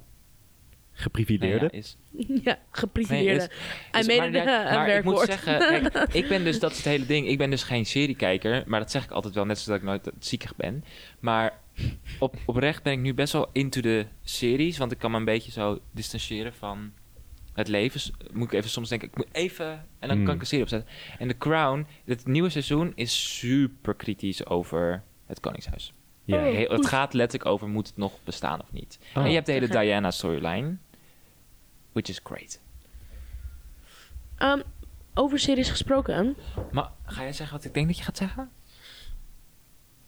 Nee, Geprivileerde. ja, is, ja, nee, geprivileerde. is, Hij is- mede maar de- inderdaad- een maar ik moet werkwoord. zeggen, kijk, ik ben dus, dat is het hele ding. Ik ben dus geen seriekijker, maar dat zeg ik altijd wel, net zoals dat ik nooit ziekig ben. Maar op, oprecht ben ik nu best wel into de series, want ik kan me een beetje zo distancieren van het leven. S- Moet ik even soms denken, ik moet even, en dan Hmm. kan ik een serie opzetten. En The Crown, het nieuwe seizoen is super kritisch over het Koningshuis. Ja. Oh. Heel- het gaat letterlijk over, moet het nog bestaan of niet? Oh. En je hebt de hele Te gek. Diana storyline, which is great. Ehm, over series gesproken. Maar ga jij zeggen wat ik denk dat je gaat zeggen?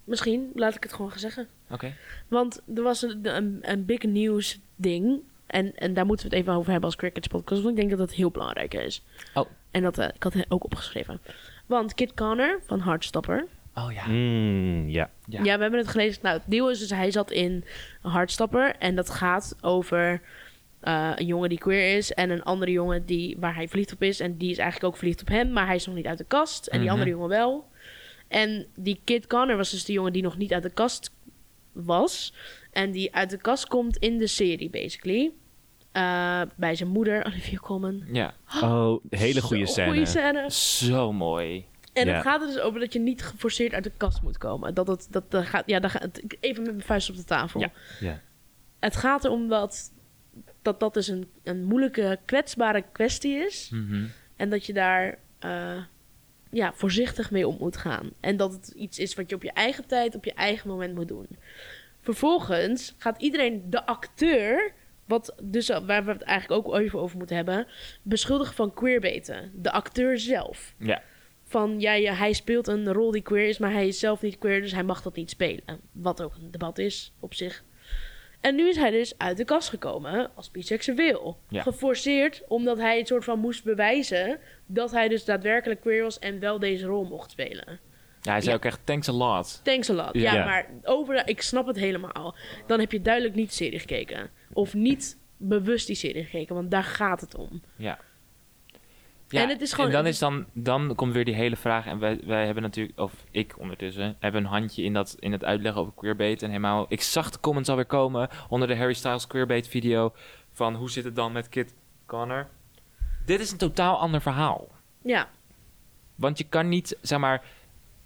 Misschien laat ik het gewoon gaan zeggen. Oké. Want er was een, een, een big news ding. En, en daar moeten we het even over hebben als Crickets podcast. Want ik denk dat dat heel belangrijk is. Oh. En dat eh, ik had het ook opgeschreven. Want Kit Connor van Hardstopper. Oh ja. Mm, ja. Ja. we hebben het gelezen. Nou, het nieuw is dus hij zat in Hardstopper. En dat gaat over eh, een jongen die queer is. En een andere jongen die, waar hij verliefd op is. En die is eigenlijk ook verliefd op hem. Maar hij is nog niet uit de kast. En die Mhm. andere jongen wel. En die Kid Connor was dus de jongen die nog niet uit de kast was. En die uit de kast komt in de serie, basically. Eh, bij zijn moeder, Olivia Colman. Ja. Oh, hele goede Zo'n scène. Goede scène. Zo mooi. En Ja. het gaat er dus over dat je niet geforceerd uit de kast moet komen. Dat het, dat, dat gaat, ja, daar gaat, even met mijn vuist op de tafel. Ja. Ja. Het gaat erom dat dat, dat dus een, een moeilijke, kwetsbare kwestie is. En dat je daar eh, ja, voorzichtig mee om moet gaan. En dat het iets is wat je op je eigen tijd, op je eigen moment moet doen. Vervolgens gaat iedereen de acteur, wat dus, waar we het eigenlijk ook even over moeten hebben, beschuldigen van queerbeten. De acteur zelf Ja. van ja, ja, hij speelt een rol die queer is, maar hij is zelf niet queer, dus hij mag dat niet spelen. Wat ook een debat is op zich. En nu is hij dus uit de kast gekomen als biseksueel. Ja. Geforceerd omdat hij het soort van moest bewijzen dat hij dus daadwerkelijk queer was en wel deze rol mocht spelen. Ja, hij zei ook echt thanks a lot. Thanks a lot. Ja, Ja. maar over, ik snap het helemaal. Dan heb je duidelijk niet serie gekeken. Of niet bewust die serie gekeken, want daar gaat het om. Ja. Ja, En het is gewoon- dan, is dan, dan komt weer die hele vraag. En wij, wij hebben natuurlijk, of ik ondertussen, hebben een handje in, dat, in het uitleggen over queerbait. En helemaal, ik zag de comments alweer komen onder de Harry Styles queerbait video. Van hoe zit het dan met Kit Connor? Dit is een totaal ander verhaal. Ja, Want je kan niet, zeg maar.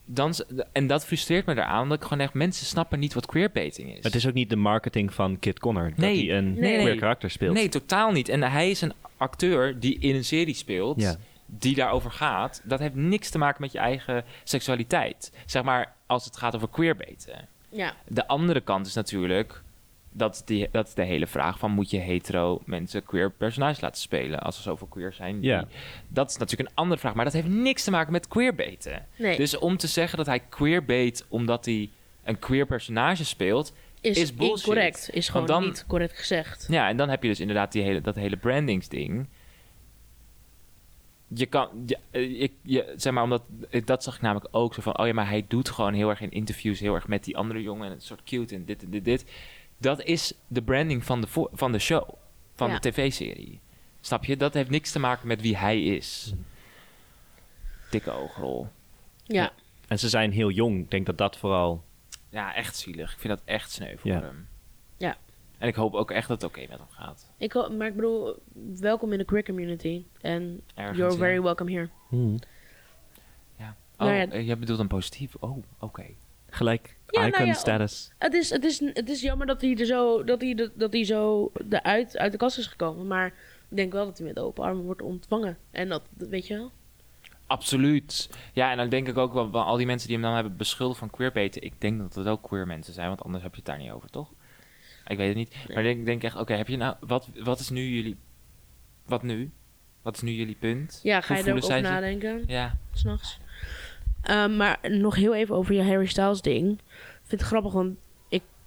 Dan, en dat frustreert me daaraan, omdat ik gewoon echt mensen snappen niet wat queerbaiting is. Het is ook niet de marketing van Kid Connor. Dat Nee. hij een Nee. queer karakter speelt. Nee, totaal niet. En hij is een acteur die in een serie speelt, Ja. die daarover gaat. Dat heeft niks te maken met je eigen seksualiteit. Zeg maar, als het gaat over queerbaiten. ja. De andere kant is natuurlijk, dat is, die, dat is de hele vraag van... moet je hetero mensen queer personages laten spelen als er zoveel queer zijn? die- Ja. Dat is natuurlijk een andere vraag, maar dat heeft niks te maken met queerbaiten. Nee. Dus om te zeggen dat hij queerbait omdat hij een queer personage speelt... Is, is bullshit. incorrect. Is gewoon Want dan- niet correct gezegd. Ja, en dan heb je dus inderdaad die hele, dat hele brandingsding. Je kan, ja, eh, ik, je, zeg maar, omdat eh, dat zag ik namelijk ook zo van, oh ja, maar hij doet gewoon heel erg in interviews, heel erg met die andere jongen en het soort cute en dit en dit, dit. Dat is de branding van de, vo- van de show, van Ja. de tv-serie. Snap je? Dat heeft niks te maken met wie hij is. Dikke oogrol. ja. En ze zijn heel jong. Ik denk dat dat vooral... Ja, echt zielig. Ik vind dat echt sneu voor Ja. hem. Ja. En ik hoop ook echt dat het oké met hem gaat. Ik, ho- maar ik bedoel, welkom in de queer community. En Ergens, you're ja. very welcome here. hmm, Ja. Oh, Nou ja. eh, jij bedoelt een positief. Oh, oké. Gelijk. Ja, nou icon ja, status. Het is, het is, het is jammer dat hij er zo, dat hij, de- dat hij zo de uit, uit de kast is gekomen. Maar ik denk wel dat hij met open armen wordt ontvangen. En dat, dat weet je wel. Absoluut. Ja, en dan denk ik ook wel wel al die mensen die hem dan hebben beschuldigd van queerbeten. Ik denk dat het ook queer mensen zijn, want anders heb je het daar niet over, toch? Ik weet het niet. Maar ik denk, denk echt, oké, heb je nou, wat, wat is nu jullie, wat nu? Wat is nu jullie punt? Ja, ga Hoe je er ook voelen over zij zich? nadenken, Ja, s'nachts. Ehm, maar nog heel even over je Harry Styles ding. Ik vind het grappig, want ik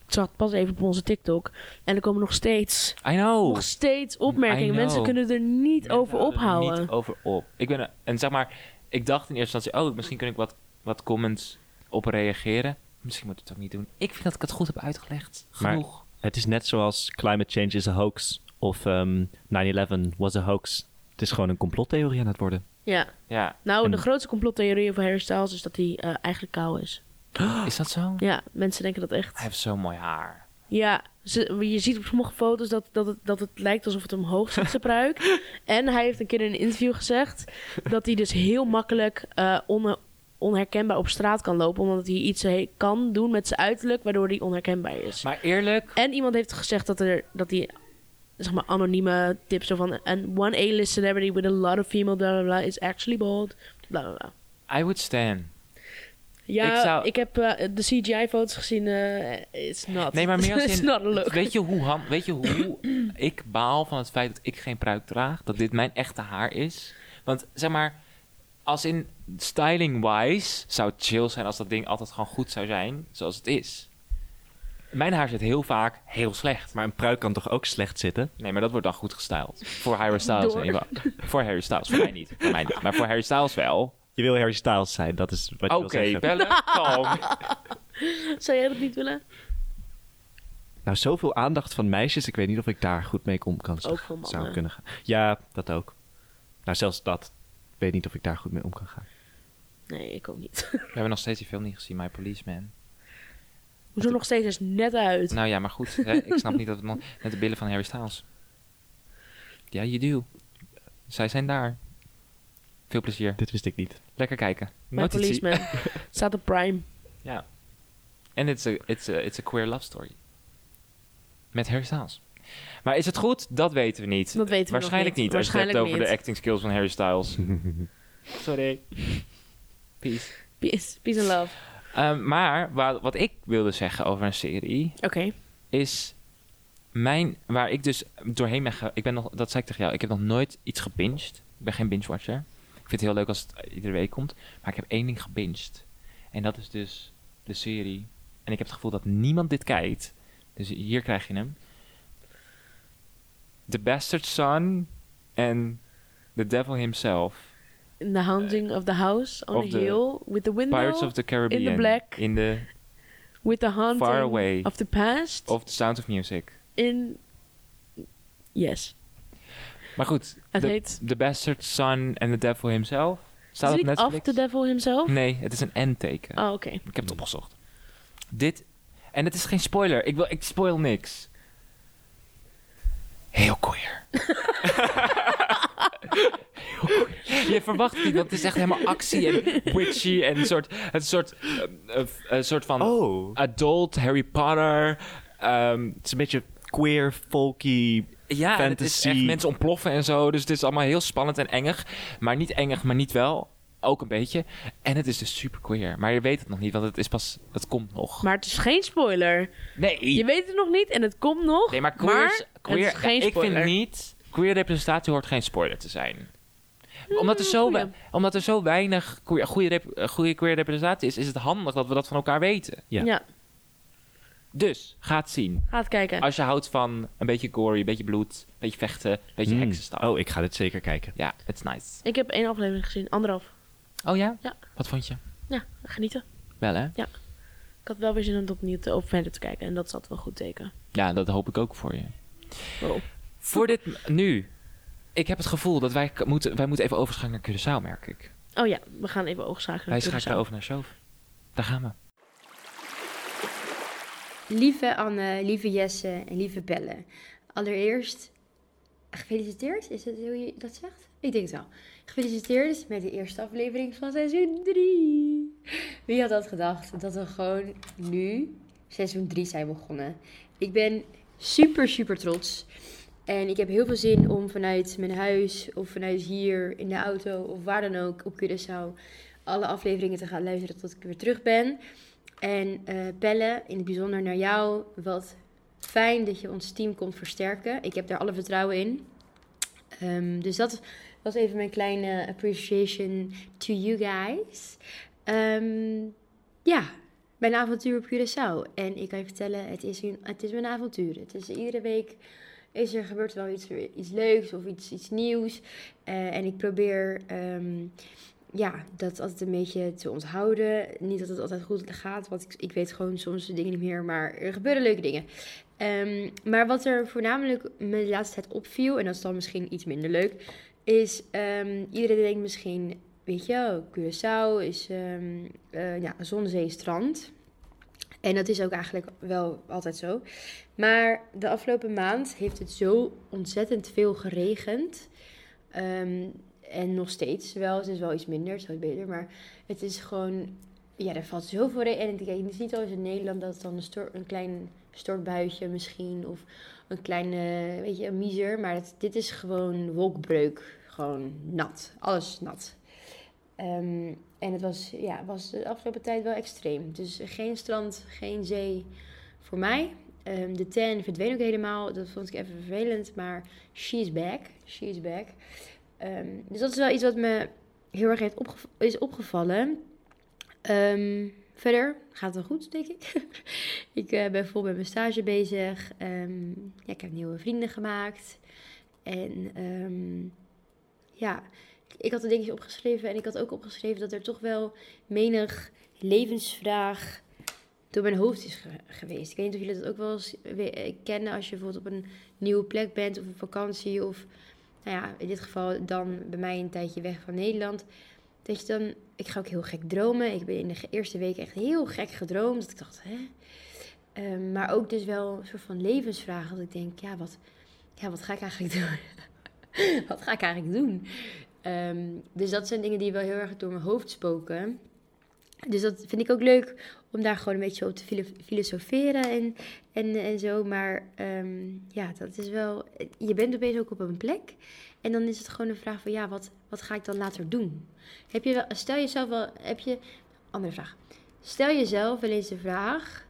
Ik zat pas even op onze TikTok. En er komen nog steeds, I know. nog steeds opmerkingen. Oh. I Mensen know. kunnen er niet Mensen over houden er ophouden. Niet over op. Ik ben, en zeg maar, ik dacht in eerste instantie, oh, misschien kun ik wat, wat comments op reageren. Misschien moet ik het ook niet doen. Ik vind dat ik het goed heb uitgelegd. Maar- Genoeg. Het is net zoals climate change is a hoax of ehm 9-11 was a hoax. Het is gewoon een complottheorie aan het worden. Ja. ja. Nou, de En- grootste complottheorie over Harry Styles is dat hij eh, eigenlijk kaal is. Is dat zo? Ja, mensen denken dat echt. Hij heeft zo mooi haar. Ja, ze- je ziet op sommige foto's dat, dat, het, dat het lijkt alsof het omhoog zit, zijn pruik. En hij heeft een keer in een interview gezegd dat hij dus heel makkelijk eh, onhe- onherkenbaar op straat kan lopen. Omdat hij iets he- kan doen met zijn uiterlijk, waardoor hij onherkenbaar is. Maar eerlijk, En iemand heeft gezegd dat, er, dat hij, zeg maar, anonieme tips zo van... And one A-list celebrity with a lot of female blah blah blah is actually bald. Blah blah blah. I would stand. Ja, ik, Ik zou- heb eh, de CGI-foto's gezien. eh it's not. Nee, maar meer als in- it's not a look. Weet je hoe, ham, weet je hoe ik baal van het feit dat ik geen pruik draag? Dat dit mijn echte haar is? Want zeg maar, als in styling-wise zou het chill zijn als dat ding altijd gewoon goed zou zijn zoals het is. Mijn haar zit heel vaak heel slecht. Maar een pruik kan toch ook slecht zitten? Nee, maar dat wordt dan goed gestyled. Voor Harry Styles. Door. in ieder geval. Voor Harry Styles, voor mij niet. Voor mij niet. Maar voor Harry Styles wel. Je wil Harry Styles zijn, dat is wat je Oké, wil zeggen. bellen, kalm. Zou jij dat niet willen? Nou, zoveel aandacht van meisjes. Ik weet niet of ik daar goed mee om kan. Ook van zou mannen. kunnen gaan. Ja, dat ook. Nou, zelfs dat. Ik weet niet of ik daar goed mee om kan gaan. Nee, ik ook niet. We hebben nog steeds die film niet gezien, My Policeman. Hoezo nog steeds? Hij is net uit. Nou ja, maar goed. Hè, ik snap niet dat het nog... Met de billen van Harry Styles. Ja, you do. Zij zijn daar. Veel plezier. Dit wist ik niet. Lekker kijken. Mijn Notitie. policeman staat op Prime. Ja. En it's a, it's, a, it's a queer love story. Met Harry Styles. Maar is het goed? Dat weten we niet. Dat weten we nog Waarschijnlijk niet. niet. Als je het hebt Waarschijnlijk over de niet. acting skills van Harry Styles. Sorry. Peace. Peace, peace and love. Ehm, maar wa- wat ik wilde zeggen over een serie Oké. is mijn waar ik dus doorheen ben. ge- Ik ben nog dat zei ik tegen jou. Ik heb nog nooit iets gebinged. Ik ben geen binge-watcher. Ik vind het heel leuk als het eh, iedere week komt. Maar ik heb één ding gebinged. En dat is dus de serie. En ik heb het gevoel dat niemand dit kijkt. Dus hier krijg je hem. The Bastard Son en The Devil Himself. In the haunting of the house on of the the hill with the window Pirates of the Caribbean. black. In the, with the haunting Far away. of the past of The Sound of Music. in... Yes. Maar goed, Het the, heet- the Bastard Son and the Devil Himself. Staat Is op het niet Netflix? Hmm. af the devil himself? Nee, het is een N-teken. Oh, oké. Ik heb het opgezocht. Dit... En het is geen spoiler. Ik, wil, ik spoil niks. Heel queer. Heel queer. Je verwacht het niet, want het is echt helemaal actie en witchy en een soort, een soort, eh, eh, een soort van Oh. adult Harry Potter. ehm, Het is een beetje queer, folky. ja, en het is Fantasy. echt mensen ontploffen en zo. Dus het is allemaal heel spannend en engig. Maar niet engig, maar niet wel. Ook een beetje. En het is dus super queer. Maar je weet het nog niet, want het is pas... Het komt nog. Maar het is geen spoiler. nee. Je weet het nog niet en het komt nog. nee, maar queer, is, queer het is geen Ik spoiler. vind niet... Queer representatie hoort geen spoiler te zijn. Omdat er zo, Mm, goeie. we- omdat er zo weinig queer, goede, rep- eh, goede queer representatie is... is het handig dat we dat van elkaar weten. Ja. Ja. Dus, ga het zien. ga het kijken. Als je houdt van een beetje gory, een beetje bloed... een beetje vechten, een beetje Mm. heksenstaf. Oh, ik ga dit zeker kijken. Ja, it's nice. Ik heb één aflevering gezien. Anderhalf. Oh ja? Ja. Wat vond je? Ja, genieten. Wel hè? Ik had wel weer zin om het opnieuw te, op verder te kijken. En dat is altijd wel een goed teken. Ja, dat hoop ik ook voor je. Wow. Voor dit m- nu. Ik heb het gevoel dat wij k- moeten, wij moeten even overschakelen naar Curaçao, merk ik. Oh ja, we gaan even oogschakelen. Wij Curaçao. schakelen over naar Shove. Daar gaan we. Lieve Anne, lieve Jesse en lieve Belle. Allereerst gefeliciteerd, is dat hoe je dat zegt? Ik denk het wel. Gefeliciteerd met de eerste aflevering van seizoen 3. Wie had dat gedacht, dat we gewoon nu seizoen 3 zijn begonnen. Ik ben super, super trots. En ik heb heel veel zin om vanuit mijn huis of vanuit hier in de auto of waar dan ook op Curaçao alle afleveringen te gaan luisteren tot ik weer terug ben. En eh bellen, in het bijzonder naar jou. Wat fijn dat je ons team komt versterken. Ik heb daar alle vertrouwen in. Ehm, dus dat was even mijn kleine appreciation to you guys. Ehm, ja, bij een avontuur op Curaçao. En ik kan je vertellen, het is een, het is een avontuur. Het is iedere week is er gebeurt er wel iets, iets leuks of iets, iets nieuws. Eh, en ik probeer ehm, ja, dat altijd een beetje te onthouden. Niet dat het altijd goed gaat, want ik, ik weet gewoon soms de dingen niet meer. Maar er gebeuren leuke dingen. Ehm, maar wat er voornamelijk me de laatste tijd opviel, en dat is dan misschien iets minder leuk, is ehm, iedereen denkt misschien, weet je, oh, Curaçao is ehm eh, ja, zon, zee, strand. En dat is ook eigenlijk wel altijd zo. Maar de afgelopen maand heeft het zo ontzettend veel geregend. Ehm, en nog steeds wel. Het is wel iets minder, het is wel beter. Maar het is gewoon... Ja, er valt zoveel regen. En ik denk, het is niet zoals in Nederland dat het dan een, stor- een klein stortbuitje misschien... of een kleine, weet je, een miezer. Maar het- dit is gewoon wolkbreuk. Gewoon nat. Alles nat. Ehm, en het was, ja, was de afgelopen tijd wel extreem. Dus geen strand, geen zee voor mij. Ehm, de tan verdween ook helemaal. Dat vond ik even vervelend. Maar she is back. She is back. Ehm, dus dat is wel iets wat me heel erg heeft opgev- is opgevallen. Ehm, verder gaat het wel goed, denk ik. ik eh, ben vol met mijn stage bezig. Ehm, ja, ik heb nieuwe vrienden gemaakt. En ehm, ja, ik had een dingetje opgeschreven. En ik had ook opgeschreven dat er toch wel menig levensvraag door mijn hoofd is ge- geweest. Ik weet niet of jullie dat ook wel eens we- eh, kennen als je bijvoorbeeld op een nieuwe plek bent of op vakantie of nou ja, in dit geval dan bij mij een tijdje weg van Nederland. Dat je dan, ik ga ook heel gek dromen. Ik ben in de ge- eerste week echt heel gek gedroomd. Dat ik dacht, hè? Ehm, maar ook dus wel een soort van levensvraag. Dat ik denk, ja, wat, ja, wat ga ik eigenlijk doen? wat ga ik eigenlijk doen? Ehm, dus dat zijn dingen die wel heel erg door mijn hoofd spoken. Dus dat vind ik ook leuk om daar gewoon een beetje op te filo- filosoferen en, en, en zo. Maar ehm, ja, dat is wel. Je bent opeens ook op een plek. En dan is het gewoon een vraag van ja, wat, wat ga ik dan later doen? Heb je wel, stel jezelf wel. Heb je. Andere vraag. Stel jezelf wel eens de vraag: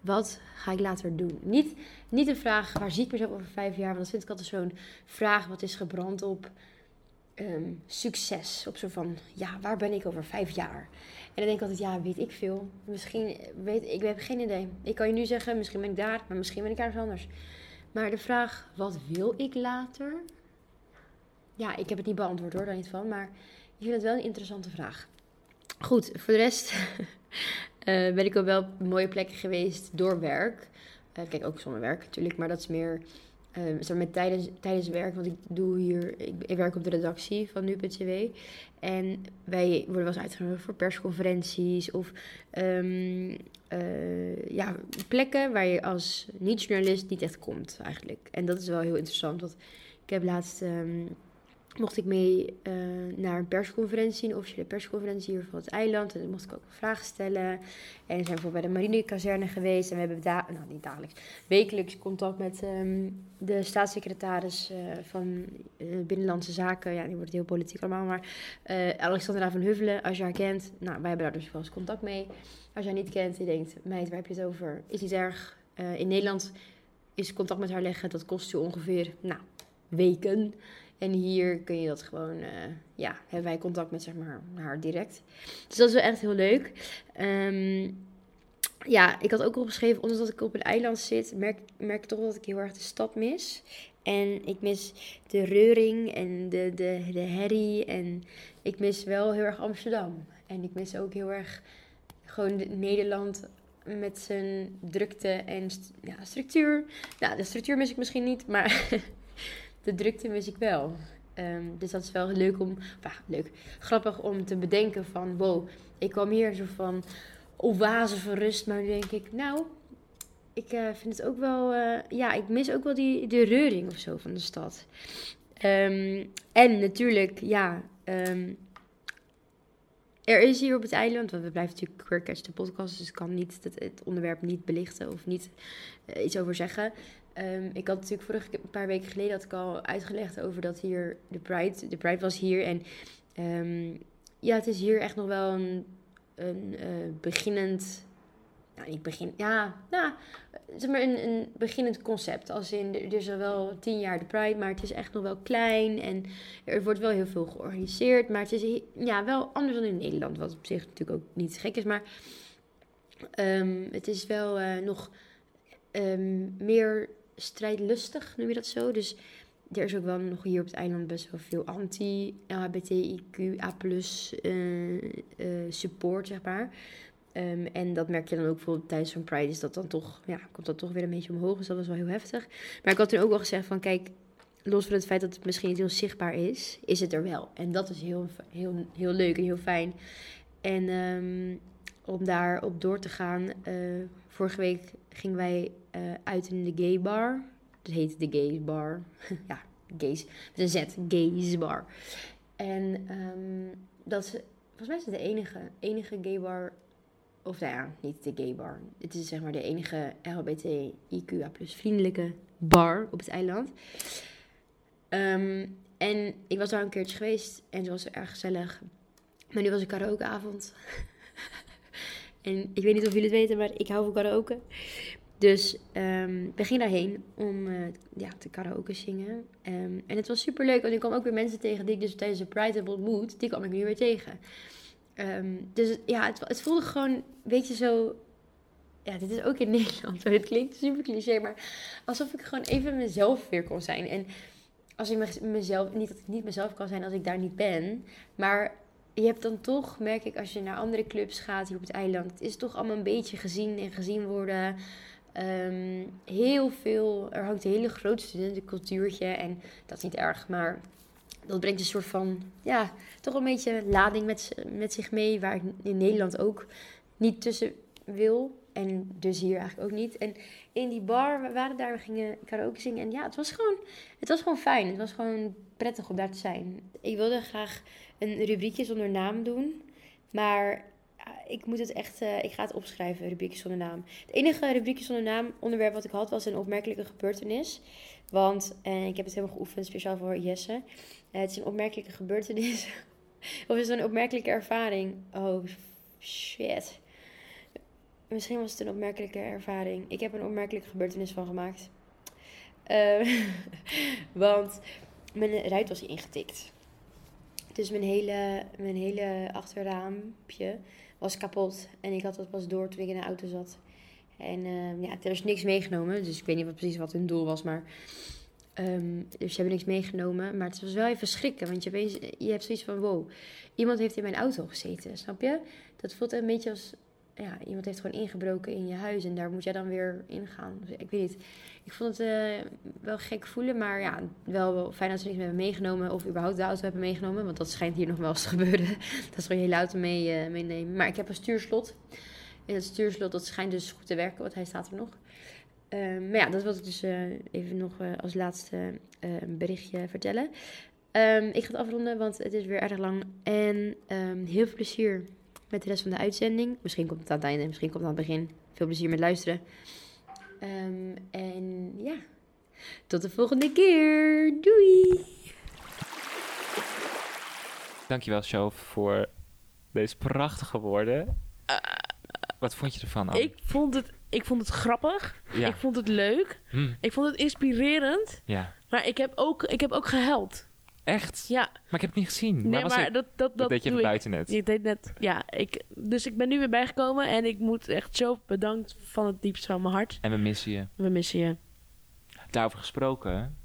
wat ga ik later doen? Niet, niet een vraag waar zie ik mezelf over vijf jaar? Want dat vind ik altijd zo'n vraag wat is gebrand op ehm, succes. Op zo van, ja, waar ben ik over vijf jaar? En dan denk ik altijd, ja, weet ik veel. Misschien, weet, ik heb geen idee. Ik kan je nu zeggen, misschien ben ik daar, maar misschien ben ik ergens anders. Maar de vraag, wat wil ik later? Ja, ik heb het niet beantwoord hoor, daar niet van. Maar ik vind het wel een interessante vraag. Goed, voor de rest eh, ben ik op wel mooie plekken geweest door werk. Eh, kijk, ook zonder werk natuurlijk, maar dat is meer ehm, zeg maar met tijdens, tijdens werk. Want ik doe hier, ik, ik werk op de redactie van nu.cw. En wij worden wel eens uitgenodigd voor persconferenties of ehm, eh, ja, plekken waar je als niet-journalist niet echt komt eigenlijk. En dat is wel heel interessant, want ik heb laatst... ehm, mocht ik mee eh, naar een persconferentie, een officiële persconferentie hier van het eiland. En dan mocht ik ook vragen stellen. En we zijn bijvoorbeeld bij de marinekazerne geweest. En we hebben daar, nou niet dagelijks, wekelijks contact met ehm, de staatssecretaris eh, van eh, Binnenlandse Zaken. Ja, die wordt heel politiek allemaal, maar eh, Alexandra van Huffelen, als je haar kent. Nou, wij hebben daar dus wel eens contact mee. Als je haar niet kent, die denkt, meid, waar heb je het over? Is niet erg. Eh, in Nederland is contact met haar leggen, dat kost je ongeveer, nou, weken. En hier kun je dat gewoon, eh, ja, hebben wij contact met zeg maar, haar direct. Dus dat is wel echt heel leuk. Ehm, ja, ik had ook opgeschreven, ondanks dat ik op een eiland zit, merk, merk ik toch wel dat ik heel erg de stad mis. En ik mis de reuring en de, de, de herrie. En ik mis wel heel erg Amsterdam. En ik mis ook heel erg gewoon de- Nederland met zijn drukte en st- ja, structuur. Nou, de structuur mis ik misschien niet, maar de drukte mis ik wel. Ehm, dus dat is wel leuk om, of ja, leuk, grappig om te bedenken van, wow, ik kwam hier zo van oase van rust, maar nu denk ik, nou, ik eh, vind het ook wel, eh, ja, ik mis ook wel die, de reuring of zo van de stad. Ehm, en natuurlijk, ja, ehm, er is hier op het eiland, want we blijven natuurlijk Queer Catch de podcast, dus ik kan niet het, het onderwerp niet belichten of niet eh, iets over zeggen. Ehm, ik had natuurlijk vorige keer- een paar weken geleden had ik al uitgelegd over dat hier de Pride, de Pride was hier en ehm, ja, het is hier echt nog wel een, een eh, beginnend, nou niet begin, ja, nou, zeg maar een, een beginnend concept. Als in, er er is al wel tien jaar de Pride, maar het is echt nog wel klein en er wordt wel heel veel georganiseerd, maar het is he- ja, wel anders dan in Nederland, wat op zich natuurlijk ook niet gek is, maar Ehm, het is wel eh, nog ehm, meer strijdlustig, noem je dat zo. Dus er is ook wel nog hier op het eiland best wel veel anti-LHBTIQA eh, support, zeg maar. Ehm, en dat merk je dan ook bijvoorbeeld tijdens zo'n Pride, is dat dan toch, ja, komt dat toch weer een beetje omhoog. Dus dat was wel heel heftig. Maar ik had toen ook wel gezegd van, kijk, los van het feit dat het misschien niet heel zichtbaar is, is het er wel. En dat is heel, heel, heel leuk en heel fijn. En ehm, om daarop door te gaan, eh, vorige week gingen wij eh, uit in de gay bar. Dat heet de gays bar. ja, gays. Met een Z, gays bar. En ehm, dat is, volgens mij is het de enige, enige gay bar of nou ja, niet de gay bar. Het is zeg maar de enige LHBTIQA plus vriendelijke bar op het eiland. Ehm, en ik was daar een keertje geweest en ze was erg gezellig. Maar nu was een karaokeavond. en ik weet niet of jullie het weten, maar ik hou van karaoke. Dus ehm we gingen daarheen om eh, ja, te karaoke zingen. Ehm, en het was super leuk, want ik kwam ook weer mensen tegen die ik dus tijdens de Pride heb ontmoet. Die kwam ik nu weer tegen. Ehm, dus ja, het, het voelde gewoon een beetje zo. Ja, dit is ook in Nederland. Het klinkt super cliché, maar alsof ik gewoon even mezelf weer kon zijn. En als ik mez- mezelf, niet dat ik niet mezelf kan zijn als ik daar niet ben, maar je hebt dan toch, merk ik, als je naar andere clubs gaat hier op het eiland, het is toch allemaal een beetje gezien en gezien worden. Ehm, heel veel, er hangt een hele grote studentencultuurtje en dat is niet erg, maar dat brengt een soort van, ja, toch een beetje lading met, z- met zich mee, waar ik in Nederland ook niet tussen wil. En dus hier eigenlijk ook niet. En in die bar, we waren daar, we gingen karaoke zingen. En ja, het was gewoon, het was gewoon fijn. Het was gewoon prettig om daar te zijn. Ik wilde graag een rubriekje zonder naam doen. Maar ah, ik moet het echt, eh, ik ga het opschrijven, rubriekje zonder naam. Het enige rubriekje zonder naam onderwerp wat ik had was een opmerkelijke gebeurtenis. Want, en ik heb het helemaal geoefend, speciaal voor Jesse. Eh, het is een opmerkelijke gebeurtenis. of is het een opmerkelijke ervaring? Oh, shit. Misschien was het een opmerkelijke ervaring. Ik heb een opmerkelijke gebeurtenis van gemaakt. Eh, want mijn ruit was ingetikt. Dus mijn hele, mijn hele achterraampje was kapot. En ik had dat pas door toen ik in de auto zat. En eh, ja, er is niks meegenomen. Dus ik weet niet wat precies wat hun doel was. Maar Ehm, dus ze hebben niks meegenomen. Maar het was wel even schrikken. Want je, opeens, je hebt zoiets van: wow, iemand heeft in mijn auto gezeten. Snap je? Dat voelt een beetje als. Ja, iemand heeft gewoon ingebroken in je huis. En daar moet jij dan weer ingaan. Dus Ik weet niet. Ik vond het eh, wel gek voelen. Maar ja, wel, wel fijn dat ze niks mee hebben meegenomen. Of überhaupt de auto hebben meegenomen. Want dat schijnt hier nog wel eens te gebeuren. dat ze gewoon je hele auto mee, eh, meenemen. Maar ik heb een stuurslot. En dat stuurslot dat schijnt dus goed te werken. Want hij staat er nog. Ehm, maar ja, dat wilde ik dus eh, even nog eh, als laatste eh, een berichtje vertellen. Ehm, ik ga het afronden, want het is weer erg lang. En ehm, heel veel plezier met de rest van de uitzending. Misschien komt het aan het einde, misschien komt het aan het begin. Veel plezier met luisteren. Ehm, en ja, tot de volgende keer. Doei! Dankjewel, Sjoof, voor deze prachtige woorden. Eh, Wat vond je ervan? Anne? Ik, vond het, ik vond het grappig. Ja. Ik vond het leuk. Hm, Ik vond het inspirerend. ja. Maar ik heb ook, ik heb ook gehuild. Echt? Ja, Maar ik heb het niet gezien. nee, Waar was maar ik? dat, dat, Dat dat deed je doe ik. buiten net. Je deed net, ja. Ik, dus ik ben nu weer bijgekomen en ik moet echt zo bedankt van het diepst van mijn hart. En we missen je. We missen je. Daarover gesproken.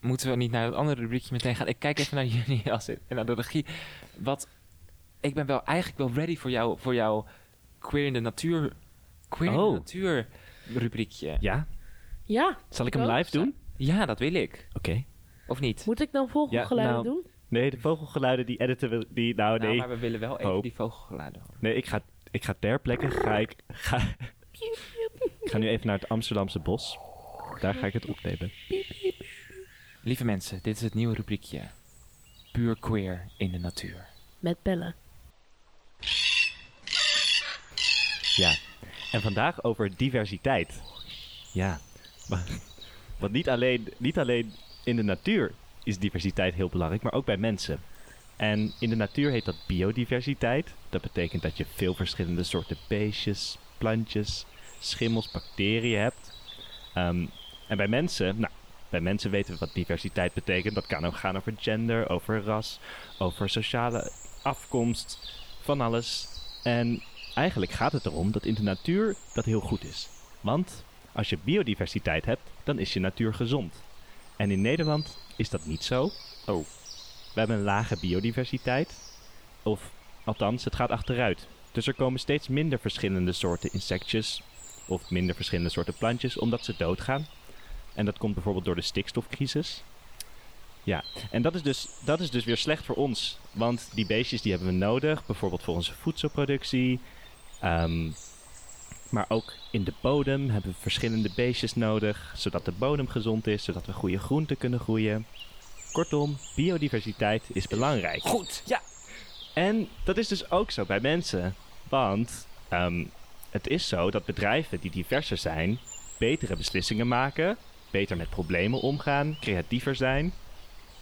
Moeten we niet naar het andere rubriekje meteen gaan? Ik kijk even naar jullie als en naar de regie. Wat, ik ben wel eigenlijk wel ready voor jou, voor jouw queer in de natuur, queer in Oh. de natuur rubriekje. Ja? Ja, Zal ik Ik hem ook. live doen? Ja, dat wil ik. Oké. Of niet? moet ik dan vogelgeluiden Ja, nou, doen? Nee, de vogelgeluiden die editen we... Die, nou, Nou, nee. maar we willen wel even Hoop. die vogelgeluiden. horen. Nee, ik ga, ik ga ter plekke. Ga ik, ga, ik ga nu even naar het Amsterdamse bos. Daar ga ik het opnemen. Lieve mensen, dit is het nieuwe rubriekje. Puur queer in de natuur. Met bellen. Ja. En vandaag over diversiteit. Ja. Maar, want niet alleen, niet alleen in de natuur is diversiteit heel belangrijk, maar ook bij mensen. En in de natuur heet dat biodiversiteit. Dat betekent dat je veel verschillende soorten beestjes, plantjes, schimmels, bacteriën hebt. Ehm, en bij mensen, nou, bij mensen weten we wat diversiteit betekent. Dat kan ook gaan over gender, over ras, over sociale afkomst, van alles. En eigenlijk gaat het erom dat in de natuur dat heel goed is. Want als je biodiversiteit hebt, dan is je natuur gezond. En in Nederland is dat niet zo. Oh. We hebben een lage biodiversiteit. Of althans, het gaat achteruit. Dus er komen steeds minder verschillende soorten insectjes of minder verschillende soorten plantjes, omdat ze doodgaan. En dat komt bijvoorbeeld door de stikstofcrisis. Ja, en dat is, dus, dat is dus weer slecht voor ons. Want die beestjes die hebben we nodig, bijvoorbeeld voor onze voedselproductie. Ehm, maar ook in de bodem hebben we verschillende beestjes nodig, zodat de bodem gezond is, zodat we goede groenten kunnen groeien. Kortom, biodiversiteit is belangrijk. Goed, ja. En dat is dus ook zo bij mensen. Want ehm, het is zo dat bedrijven die diverser zijn, betere beslissingen maken, beter met problemen omgaan, creatiever zijn.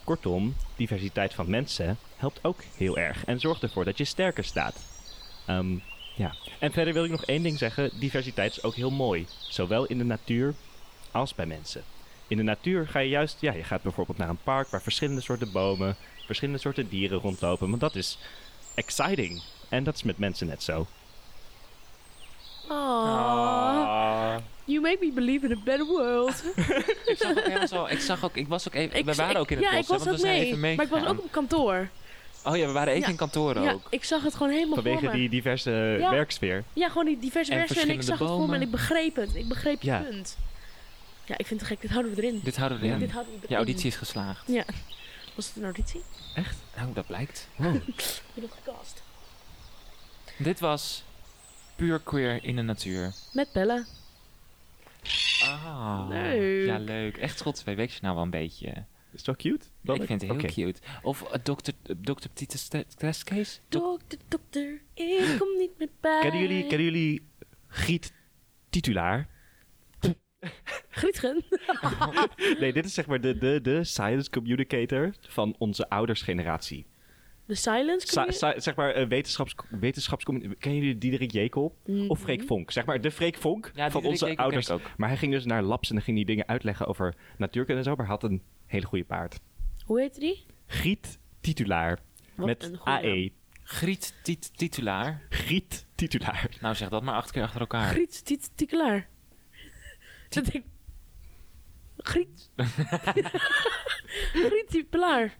Kortom, diversiteit van mensen helpt ook heel erg en zorgt ervoor dat je sterker staat. Ehm, ja. En verder wil ik nog één ding zeggen: diversiteit is ook heel mooi, zowel in de natuur als bij mensen. In de natuur ga je juist, ja, je gaat bijvoorbeeld naar een park waar verschillende soorten bomen, verschillende soorten dieren rondlopen, want dat is exciting. En dat is met mensen net zo. Aww. Ah. You make me believe in a better world. Ik zag ook ergens al- ik zag ook, ik was ook even, we waren ook in het ja, bos, ik was hè, want ook we zijn mee, even mee Maar ik was ook op kantoor. Oh ja, we waren even Ja. in kantoren ja, ook. ik zag het gewoon helemaal Vanwege voor me. die diverse Ja. werksfeer. Ja, gewoon die diverse En versen en ik zag verschillende het voor me en bomen. ik begreep het. Ik begreep je Ja. punt. Ja, ik vind het gek. Dit houden we erin. Dit houden we Ja, erin. Dit houden we erin. Je auditie is geslaagd. Was het een auditie? Nou, dat blijkt. Ik ben opgekast. Dit was puur queer in de natuur. Met bellen. Ah, Leuk. Ja, leuk. Echt Schots twee weken nou wel een beetje. Is dat cute? ik vind het heel Oké. cute. Of eh, dokter Dr. Titus Testcase? Dokter, dokter, ik kom niet meer bij. Kennen jullie, kennen jullie Giet Titulaar? Grietgen? Nee, dit is zeg maar de, de, de science communicator van onze oudersgeneratie. De silence? Sa- commu- sa- zeg maar eh, wetenschaps, wetenschaps... Kennen jullie Diederik Jekel? Mhm. Of Freek Vonk? Zeg maar de Freek Vonk Ja, van die onze ken ik ouders. ook. Maar hij ging dus naar labs en dan ging hij dingen uitleggen over natuurkunde en zo. Maar hij had een hele goede paard. Hoe heet die? Giet Titulaar. Wat met E. een goede AE. Griet Tit- Titulaar. Giet Titulaar. Nou, zeg dat maar acht keer achter elkaar. Griet, Tiet, Tikelaar. Dat ik... Griet. Griet, Tikelaar.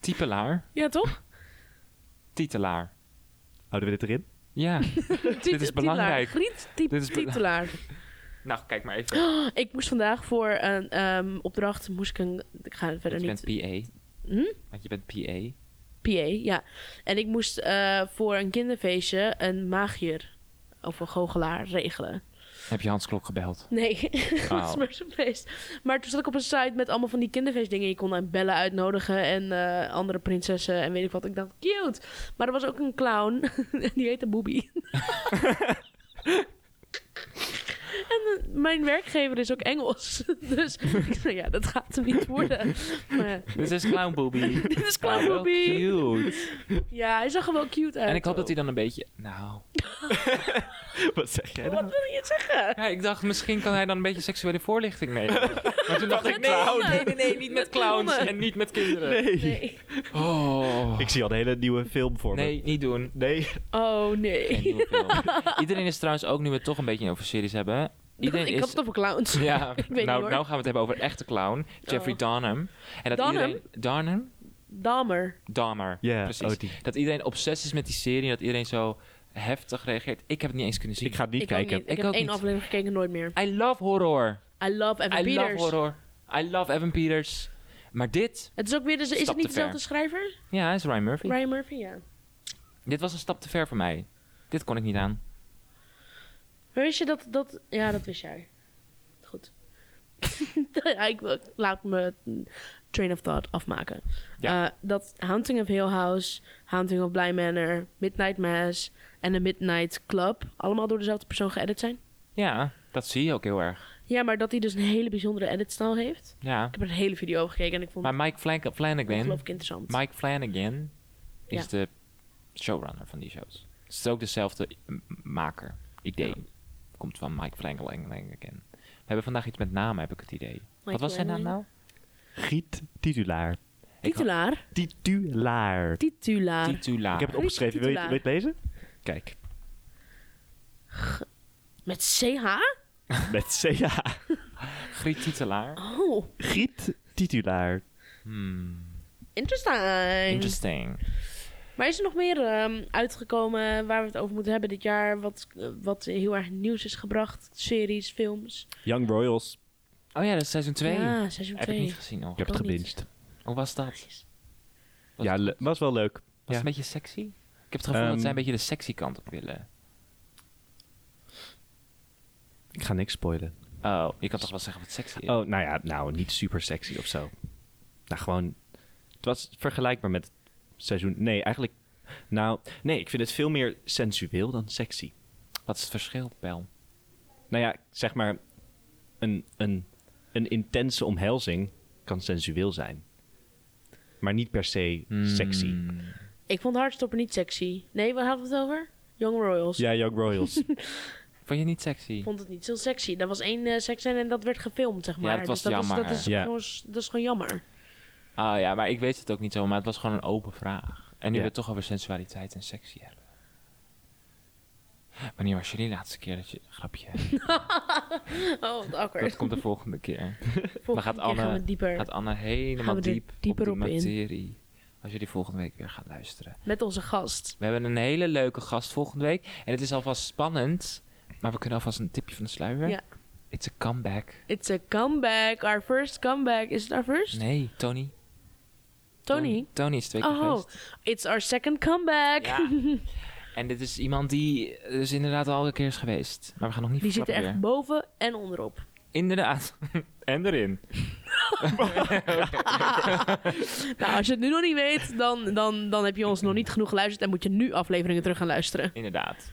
Typelaar. Ja, toch? Titelaar. Houden we dit erin? Ja. Tiet- is Tikelaar. belangrijk. Griet, Tiet, Dit is bela- Tikelaar. nou, kijk maar even. Ik moest vandaag voor een ehm, opdracht, moest ik een... Ik ga het verder Want je bent niet... PA. Hm? Want je bent PA. PA, ja. En ik moest eh, voor een kinderfeestje een magier of een goochelaar regelen. Heb je Hans Klok gebeld? Oh. Nee, dat was maar zo'n feest. Maar toen zat ik op een site met allemaal van die kinderfeestdingen. Je kon dan bellen uitnodigen en eh, andere prinsessen en weet ik wat. Ik dacht, cute. Maar er was ook een clown. en die heette Booby. en eh, mijn werkgever is ook Engels. dus ik zei, ja, dat gaat hem niet worden. Maar Dit is Clown Booby. dit is Ah, clown wel Booby. Cute. Ja, hij zag er wel cute uit. En ik hoop dat ook. hij dan een beetje... Nou... Wat zeg jij Wat wil je zeggen? Ja, ik dacht, misschien kan hij dan een beetje seksuele voorlichting nemen. Maar toen dacht ik, nee, clown. nee, nee, nee, niet met clowns honden. en niet met kinderen. Nee. Nee. Oh. Ik zie al een hele nieuwe film voor me. Nee, niet doen. Nee. Oh, Geen nee. nieuwe film. Iedereen is trouwens ook, nu we het toch een beetje over series hebben. Iedereen ik is... had het over clowns. Ja, Ik weet niet nou, hoor. nou gaan we het hebben over echte clown. Jeffrey Oh. Donham. En dat Dunham? iedereen... Dunham? Damer. Dahmer. Ja, precies. oh, die. Dat iedereen obsessief is met die serie. en Dat iedereen zo heftig reageert. Ik heb het niet eens kunnen zien. Ik ga het niet Ik, ook kijken. niet. ik, Ik heb ook één niet. aflevering gekeken, nooit meer. I love horror. I love Evan I Peters. love horror. I love Evan Peters. Maar dit... Het is ook weer, dus, is Stap het niet te ver. dezelfde schrijver? Ja, hij is Ryan Murphy. Ryan Murphy, ja. Dit was een stap te ver voor mij. Dit kon ik niet aan. Wist je dat, dat... Ja, dat wist jij. Goed. Ja, ik wil- laat me train of thought afmaken. Ja. Eh, dat Haunting of Hill House, Haunting of Bly Manor, Midnight Mass en de Midnight Club... allemaal door dezelfde persoon geëdit zijn. Ja, dat zie je ook heel erg. Ja, maar dat hij dus een hele bijzondere editstijl heeft. Ja. Ik heb er een hele video over gekeken en ik vond Maar Mike Flan- het Flanagan, ongelooflijk interessant. Mike Flanagan is Ja. de showrunner van die shows. Het is ook dezelfde m- maker. Idee. Komt van Mike Flanagan. We hebben vandaag iets met namen, heb ik het idee. Wat was zijn naam Flanagan? nou? Giet Titulaar. Ik Titulaar. Titulaar. Titulaar. Titulaar. Ik heb het opgeschreven. Wil je, wil je het lezen? Kijk. Met CH? Met CA. Griet Titelaar. Oh, Griet titulaar. Hmm, interesting. Interesting. Maar is er nog meer ehm, uitgekomen waar we het over moeten hebben dit jaar? Wat, eh, wat heel erg nieuws is gebracht? Series, films. Young Royals. Oh ja, dat is seizoen 2. Ja, seizoen heb ik 2. niet gezien nog. Ik heb het Nog niet. gebinged. Hoe was dat? Was- Ja, le- was wel leuk. Was Ja. het een beetje sexy? Ik heb het gevoel dat Ehm, zij een beetje de sexy kant op willen. Ik ga niks spoilen. Oh, je kan toch wel zeggen wat sexy is? Oh, nou ja, nou, niet super sexy of zo. Nou, gewoon... Het was vergelijkbaar met seizoen... Nee, eigenlijk... Nou, nee, ik vind het veel meer sensueel dan sexy. Wat is het verschil, Pel? Nou ja, zeg maar... Een, een, een intense omhelzing kan sensueel zijn. Maar niet per se sexy. Hmm. Ik vond Hardstopper niet sexy. Nee, waar hadden we het over? Young Royals. Ja, Young Royals. Vond je het niet sexy? Ik vond het niet zo sexy. Er was één eh seksscène en dat werd gefilmd, zeg maar. Dus dat was dat jammer. Is, dat, is Ja. gewoon, dat is gewoon jammer. Ah ja, maar ik weet het ook niet zo, maar het was gewoon een open vraag. En nu Ja. we het toch over sensualiteit en sexy hebben. Wanneer was jullie laatste keer dat je... Grapje. Oh, wat awkward. dat komt de volgende keer. Volgende gaat keer Anne- gaan we dieper Gaat Anne helemaal Gaan we er diep dieper op op de in. materie. Als jullie volgende week weer gaan luisteren. met onze gast. We hebben een hele leuke gast volgende week. En het is alvast spannend. Maar we kunnen alvast een tipje van de sluier. Ja. It's a comeback. It's a comeback. Our first comeback. Is it our first? Nee, Tony. Tony? Tony is twee keer Oh, geweest. it's our second comeback. Ja. En dit is iemand die eh, dus inderdaad al een keer is geweest. Maar we gaan nog niet Die zit er verklappen echt weer. boven en onderop. Inderdaad. en erin. Nou, als je het nu nog niet weet, dan, dan, dan heb je ons nog niet genoeg geluisterd en moet je nu afleveringen terug gaan luisteren. Inderdaad.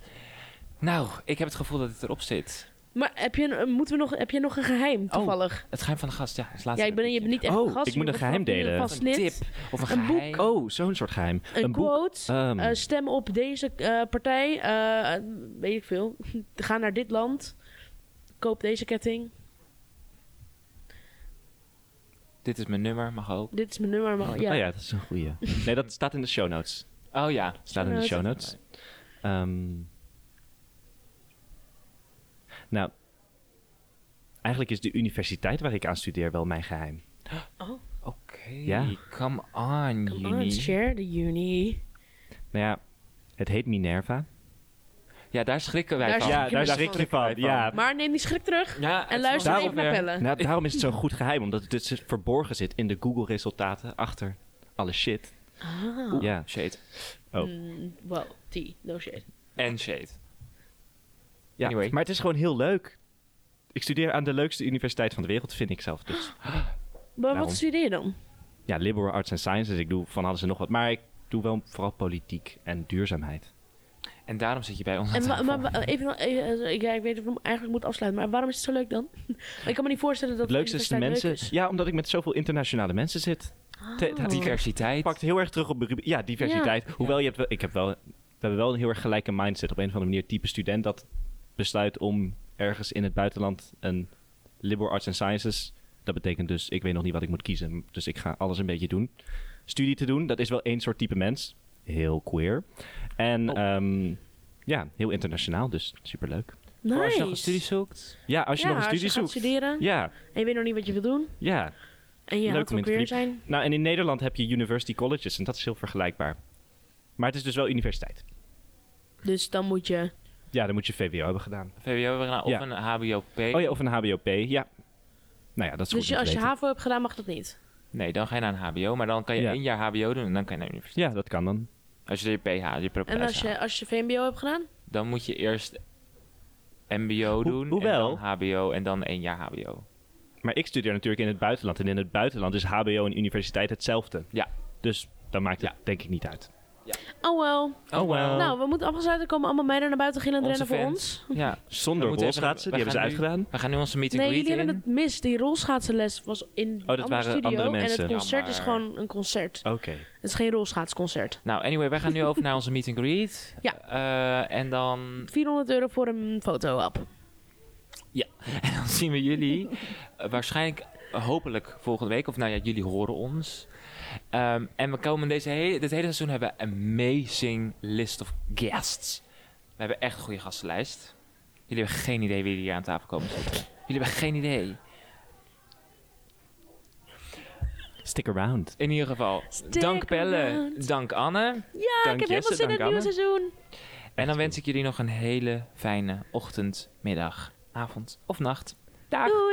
Nou, ik heb het gevoel dat het erop zit. Maar heb je, een- eh, moeten we nog, heb je nog een geheim toevallig? Het geheim van de gast, ja. Is laatste ja, ik ben, je bent niet echt Oh, een gast. ik moet je een bent geheim gewoon delen. vast Een lid. tip of een, Een boek. geheim. Oh, zo'n soort geheim. Een, boek. quote. Ehm, eh, stem op deze eh, partij. eh, weet ik veel. Ga naar dit land. Koop deze ketting. Dit is mijn nummer, mag ook. Dit is mijn nummer. Maar, ja. Oh ja, dat is een goeie. Nee, dat staat in de show notes. Oh ja. Staat in de show notes. Ehm, nou, eigenlijk is de universiteit waar ik aan studeer wel mijn geheim. Oh, Oh, Oké, Ja. come on, Come on, Juni. share the uni. Nou ja, het heet Minerva. Ja, daar schrikken wij Daar van. schrik Ja, je daar schrik je van. Ja. Maar eh, neem die schrik terug ja, en luister daarom even naar pellen. Pelle. Nou, daarom is het zo'n goed geheim, omdat het dus verborgen zit in de Google-resultaten achter alle shit. Ah. Ja. Shade. Oh. Mm, wow, tea, no shit. En shade. ja. Anyway. Maar het is gewoon heel leuk. Ik studeer aan de leukste universiteit van de wereld, vind ik zelf dus. Maar Waarom? Ah, wat studeer je dan? ja, liberal arts en sciences. Ik doe van alles en nog wat. Maar ik doe wel vooral politiek en duurzaamheid. En daarom zit je bij ons aan En wa- tafel. maar, wa- even, nog- eh, eh, ja, ik weet dat we eigenlijk moeten afsluiten, maar waarom is het zo leuk dan? ik kan me niet voorstellen dat Het leukste is de universiteit mensen. leuk Ja, omdat ik met zoveel internationale mensen zit. Te- Oh. dat Diversiteit. pakt heel erg terug op de rubriek- Ja, diversiteit. Hoewel je hebt wel, ik heb wel, we hebben wel een heel erg gelijke mindset. Op een of andere manier type student dat besluit om ergens in het buitenland een liberal arts en sciences. Dat betekent dus, ik weet nog niet wat ik moet kiezen. Dus ik ga alles een beetje doen. Studie te doen, dat is wel één soort type mens. Heel queer. En Oh. ehm, ja, heel internationaal, dus superleuk. Nice. Voor Als je nog een studie zoekt. Ja, als je Ja, nog een studie als je gaat zoekt. studeren Ja, en je weet nog niet wat je wil doen ja. en je Leuk houdt van om in te queer verdiepen. zijn. Nou, en in Nederland heb je university colleges en dat is heel vergelijkbaar. Maar het is dus wel universiteit. Dus dan moet je... Ja, dan moet je VWO hebben gedaan. VWO we gaan- of Ja. een HBOP. Oh ja, of een HBOP, ja. Nou ja, dat is goed Dus je- om te als je weten. HAVO hebt gedaan, mag dat niet. Nee, dan ga je naar een HBO. Maar dan kan je Ja. één jaar HBO doen en dan kan je naar de universiteit. Ja, dat kan dan. Als je je PH, je En als propedeutisch je, als je VMBO hebt gedaan? dan moet je eerst MBO doen, hoewel- Oh, en dan HBO en dan één jaar HBO. Maar ik studeer natuurlijk in het buitenland. En in het buitenland is HBO en universiteit hetzelfde. Ja. Dus dan maakt het denk ik niet uit. Oh well. Oh well. Nou, we moeten afgesluiten. komen allemaal meiden naar buiten gillen en Onze rennen voor fans. ons. Ja. Zonder We moeten even- rolschaatsen, we die hebben ze gaan nu- uitgedaan. We gaan nu onze meeting Nee, greet jullie in. hebben het mis. Die rolschaatsenles was in een Oh, dat andere waren studio. andere En mensen. het concert is Jammer. gewoon een concert. Oké. Het is geen rolschaatsconcert. Nou, anyway, wij gaan nu over naar onze meet and greet. Ja. Eh, en dan, 400 euro voor een foto-app. en dan zien we jullie eh, waarschijnlijk, eh, hopelijk volgende week. Of nou ja, jullie horen ons. Ehm, en we komen deze hele, dit hele seizoen hebben we een amazing list of guests. We hebben echt een goede gastenlijst. Jullie hebben geen idee wie er hier aan tafel komen zitten. Jullie hebben geen idee. Stick around. In ieder geval, Stick dank Pelle, around. dank Anne. Ja, Dank ik heb helemaal Jesse, zin in het dank nieuwe seizoen. En dan wens ik jullie nog een hele fijne ochtend, middag, avond of nacht. Dag! Doei!